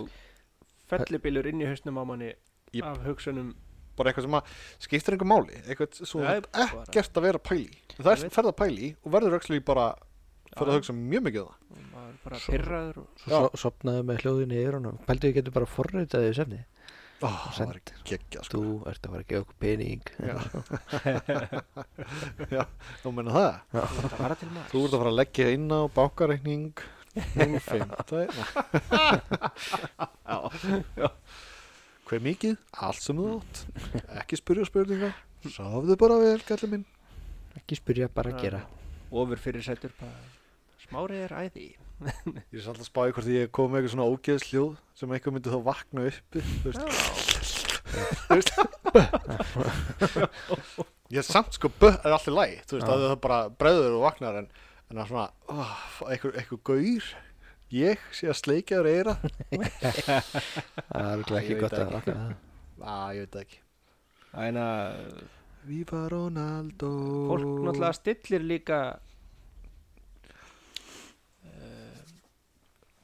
S1: fellibilur inn í hausnum á manni
S2: Jep.
S1: af hugsunum
S2: bara eitthvað sem að skiptir einhver máli eitthvað sem þú
S1: Nei,
S2: ert
S1: bara-
S2: ekkert að vera að pæli en það
S1: Ég
S2: er
S1: veit.
S2: ferð að pæli og verður öxli bara
S1: Já.
S2: fyrir að hugsa mjög mikið um
S1: og maður er bara
S3: Svo-
S1: pyrraður og
S2: Já.
S3: svo so, sopnaðu með hljóðin í eyrunum Pældu ég getur bara forritað því sefni
S2: það oh, það var
S3: Send,
S2: geggja sko
S3: þú ert að fara að gefa okkur pening
S2: Já. Já, þú meina það
S1: þú ert að fara til maður
S2: þú ert að fara að leggja inn á bákareikning 05 hver mikið, allt sem þú átt ekki spyrja spurninga sáfðu bara vel, gæli minn
S3: Ekki spyrja, bara
S1: Já.
S3: gera
S1: ofur fyrir sættur smárið er æði
S2: ég er samt að spáði hvort ég kom með eitthvað svona ógeðs hljóð sem eitthvað myndi þá vakna upp þú veist, Ég samt sko, bö, er allir læg Þú veist,
S3: Já.
S2: að það bara bregður og vaknar En, en að svona, oh, einhver, einhver gaur Ég sé að sleikja þér eira
S3: Það er
S2: Ég
S3: örugglega ekki
S2: veit
S3: gott að
S2: ekki.
S3: vakna við það.
S2: Á, ég veit það ekki
S1: Æna,
S2: Viva Ronaldo
S1: fólk náttúrulega stillir líka uh,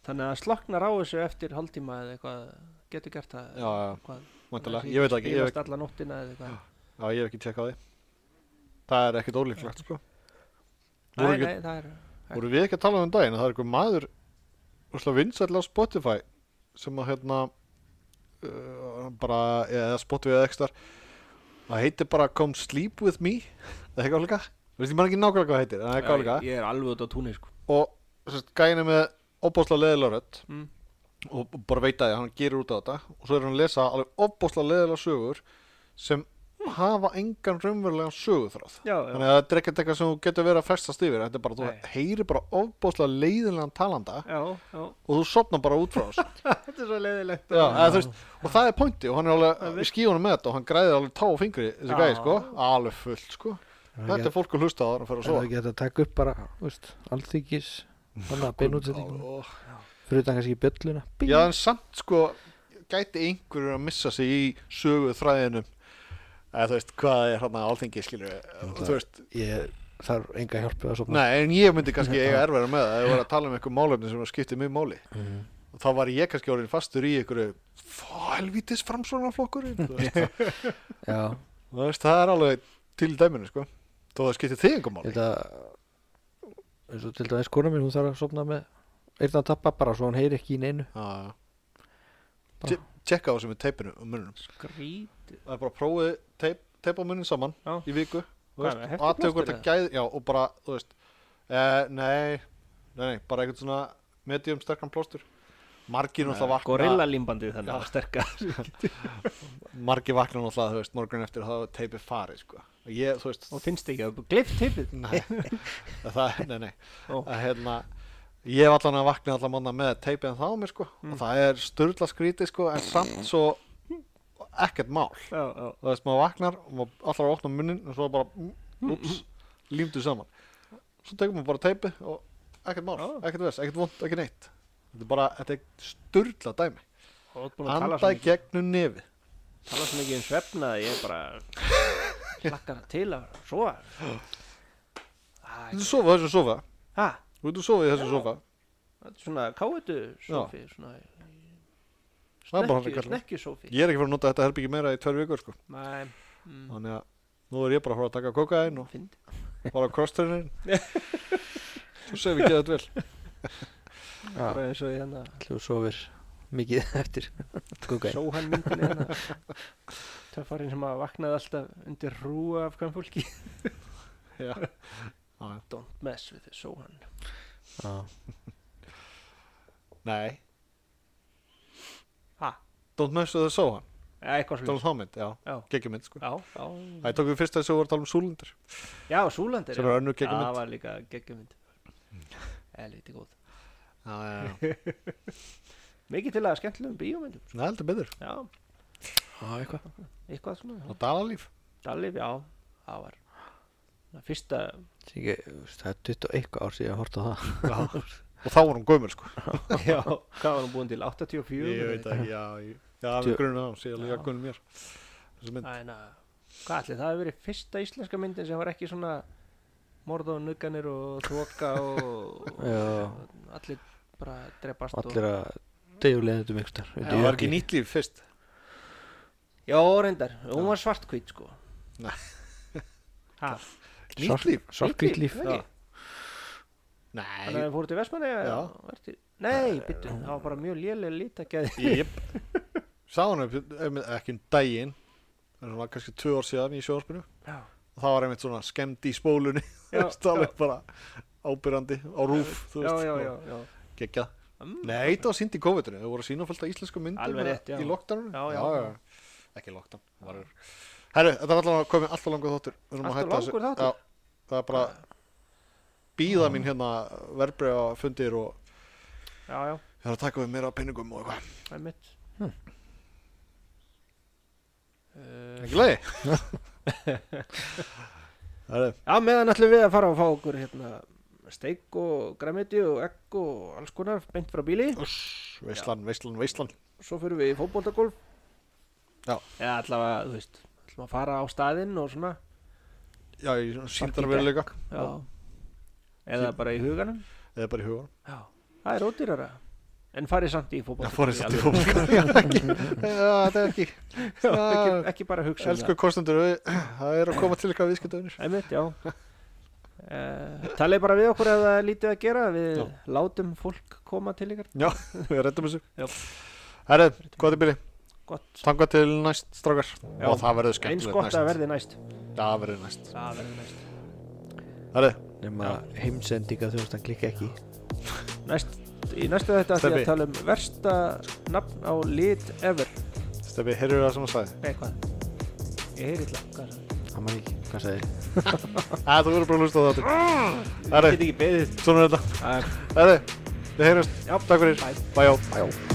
S1: þannig að sloknar á þessu eftir hálftíma eða eitthvað getur gert það
S2: Já, já,
S1: Hvað,
S2: mæntalega, ég veit það ekki ég,
S1: bílast
S2: hef-
S1: alla nóttina eða eitthvað
S2: Já, ég hef ekki tjekkað því Það er ekkert ólíklegt, sko Voru,
S1: Nei,
S2: ekki,
S1: nei, það er
S2: voru við ekki að tala um daginn að Það er einhver maður Úrslega vinsæll á Spotify Sem að hérna uh, Bara, eða Spotify eða ekstar Það heitir bara Come Sleep With Me Það er eitthvað líka Veist ég maður ekki nákvæmlega hvað það heitir En það er eitthvað líka
S1: ég, ég er alveg út á túnni sko.
S2: og sérst, gæin er með opbóðslega leðilega rödd
S1: Mm.
S2: og og bara veit að því, hann gerir út á þetta og svo er hann að lesa alveg opbóðslega leðilega sögur sem hafa engan raunverulegan söguþráð
S1: Já, já,
S2: þannig að þetta er ekkert eitthvað sem þú getur verið að festast yfir þetta er bara,
S1: Nei.
S2: þú heyrir bara opbóðslega leiðilegan talanda
S1: já, já
S2: og þú sopnar bara út frá þessu
S1: Þetta er svo leiðilegt
S2: Já, eða, þú veist, og það er pointi og hann er alveg í skíunum með þetta og hann græðir alveg tá og fingri þessi
S1: Já.
S2: gæði sko, alveg fullt sko
S3: Það
S2: þetta er fólk að hlusta á það og fyrir að
S3: Er það
S2: sofa
S3: ekki hægt að taka upp bara, þú veist, alþykis Þannig að beina útsetningum
S2: Ó,
S3: Fyrir utan kannski bjölluna Bing.
S2: Já, en samt sko gæti einhverjur að missa sig í sögu þræðinum eða þú veist hvað er hann að alþingi skilur þú veist,
S3: Ég þarf enga hjálp við að sopna
S2: nei en ég myndi kannski eiga erfæra með það ef ég var að tala um einhver málefni sem skipti mjög máli
S3: Mhm.
S2: og þá var ég kannski orðin fastur í einhverju fælvítis framsvonarflokkur þú veist,
S3: Já,
S2: Þú veist, það er alveg til í dæminu sko þó það skipti þig einhver máli
S3: þetta eins og til dæmis kona mín, hún þarf að sopna með eyrna að tappa bara svo hún heyri ekki í neinu
S2: Já,
S3: Bara.
S2: já. tjekka á þessu með teipinu um mununum
S1: Skrítið
S2: það er bara að prófið teip, teipa munun saman
S1: Já.
S2: í viku þú
S1: Hvað,
S2: veist,
S1: með
S2: og aðtöku hvort
S1: heftiplástur
S2: það gæði já, og bara, þú veist eh, nei, nei, nei, bara eitthvað svona medium sterkan plástur margir náttúrulega vakna
S1: Gorilla límbandið þannig
S2: Já.
S1: að sterka
S2: margir vakna náttúrulega, þú veist, morgun eftir að það teipi farið, sko og ég, þú veist,
S1: Og finnst ekki að glift tippið
S2: nei það, nei, nei,
S1: Ó.
S2: að hérna ég hef allan að vakna allan manna með teipið en þá mér, sko,
S1: Mm.
S2: og það er sturla skrítið, sko, en samt svo ekkert mál
S1: Já, já
S2: þú veist, maður vaknar og maður allra opna munnin og svo bara, ups, límdu saman svo tekur maður bara teipi og ekkert mál,
S1: Já.
S2: ekkert vers, ekkert vond, ekkert neitt þetta er bara, þetta er sturla dæmi
S1: Og þú ert búin að tala svo
S2: anda í
S1: mikið
S2: gegnum nefi
S1: Tala svo mikið um svefna að ég bara Lakkar til að sofa Æ,
S2: þú getur sofa þessum sofa,
S1: Hæ?
S2: þú getur sofa í þessum sofa
S1: Þetta er svona káetu sofi Svona
S2: Það er bara þannig
S1: Snekkju,
S2: kallað.
S1: snekkju sofi
S2: ég er ekki fyrir að nota þetta herbyggi meira í tvær vikur sko.
S1: Nei mm,
S2: þannig að nú er ég bara að fara að taka kokaðin og
S1: fyndi.
S2: fara á cross-trainin svo segir við geðað vel
S1: Bara eins og ég hérna
S3: Þú sofir mikið eftir Kúka
S1: Sá hann myndinni hérna Töffarinn sem að vaknaði alltaf undir rúa af hvern fólki
S2: Já. Já, já.
S1: Don't mess with it, sá hann
S2: nei,
S1: Ha?
S2: don't mess with the sofa
S1: Já, eitthvað
S2: Tala
S1: svolítið.
S2: um þá mynd, já,
S1: Já.
S2: geggjumynd sko.
S1: Já,
S2: Það
S1: já.
S2: tók við fyrst að þessu voru að tala um Súlundur
S1: Já, Súlandir.
S2: sem er önnur geggjumynd Mm.
S1: Það var líka geggjumynd. Helviti góð.
S2: Já, já, já,
S1: Mikið til að skemmtilegum bíómyndum.
S2: Nei, heldur betur
S1: Já,
S3: Já, eitthvað
S1: eitthvað svona.
S2: Og Dalalíf
S1: Dalif, já, það var það fyrsta,
S3: Sé ekki, þú veist, Það er 21 ár síðan ég horfði á það
S2: já. Og þá var hún gömul sko
S1: já, hvað var hann búin til? 84?
S2: Ég veit ekki, já, ég, já, við
S3: Tjö-
S2: grunum það, sé alveg
S1: Já.
S2: að grunum mér Þessu mynd,
S1: Æna, hvað allir, það hefur verið fyrsta íslenska myndin sem var ekki svona morð og nugganir og þoka og,
S3: Já.
S1: og allir bara drepast
S3: Allir að degjulegðum yngstar
S2: það var ekki nýtt líf fyrst
S1: og já, reyndar, hún
S2: Já.
S1: var svartkvít sko
S2: Nei.
S1: Ha,
S2: Nýtt líf
S3: Sorgvít líf
S1: ekki?
S2: Nei,
S1: þannig að við fórum til Vestmanni
S2: Já.
S1: nei, byttu, það var bara mjög léleg lítakæði
S2: Jep Sá hann ekki um daginn En það var kannski tvö ár síðan í sjóðarspinu
S1: já,
S2: Og það var einmitt svona skemmt í spólunni
S1: Já,
S2: Þú veist, alveg bara ábyrrandi á rúf Þú
S1: já,
S2: veist,
S1: já,
S2: og
S1: já, já.
S2: geggjað.
S1: Mm.
S2: Nei, það var sínt í COVID-inu Þau voru að sína fullt af íslensku myndum
S1: Alveg rétt, já.
S2: Í lockdownu
S1: Já, já.
S2: Ekki lockdown það var... Herru, þetta var allavega komið alltaf langur þáttur Við erum að
S1: Allt of
S2: hætta þessu.
S1: langur þáttur?
S2: Já, það er bara Býða mín hérna verbreyða fundir og
S1: já, já,
S2: ég þarf að taka við meira af peningum og eitthvað.
S1: það er mitt Eh.
S2: Er Ekki leiði? Herru,
S1: Já, meðan ætlum við að fara og fá okkur hérna steik og græmiti og egg og alls konar beint frá bíli
S2: Uss, veislan, veislan, veislan
S1: svo fyrir við í fótboltagolf
S2: Já.
S1: Eða allavega, þú veist, ætlum að fara á staðinn og svona
S2: Já, í síndar veruleika
S1: Já, eða bara í huganum
S2: Eða bara í hugan
S1: Já, það er ódýrara en farið samt í
S2: Já,
S1: fótboltagolf
S2: fórið satt í hugan Já, ekki Já, þetta er ekki
S1: ekki, ekki bara hugsa um
S2: Elsku kostendur, við- það er að koma til eitthvað viðskiptaunir
S1: það Einmitt, já Uh, talið bara við okkur ef það er lítið að gera við
S2: Já.
S1: látum fólk koma til ykkar
S2: Já, við reddum þessu
S1: Já.
S2: Herre, hvað er byrja?
S1: gott,
S2: Tanga til næst, strákar
S1: Já.
S2: Og það verður
S1: eins
S2: skemmtilegt
S1: gott
S2: næst
S1: að verði næst
S2: Það verður næst
S1: það verði næst
S2: Herre,
S3: Nefna heimsendinga þjónustan klikka ekki
S1: Næst, í næstu þetta ætlum ég
S2: Stebbi.
S1: að tala um versta nafn á lit ever
S2: Steffi, heyrðu það sem að sagði
S1: eitthvað ég heyri illa hvað er það?
S3: Það maður ekki, hvað sagði
S2: Æ, þú verður bara að hlusta á þetta Herre,
S1: get ekki beðið
S2: svona er þetta
S1: Æ,
S2: Herre, við heyrjumst
S1: já,
S2: Takk fyrir,
S1: bye.
S2: bæjá
S3: Bæjó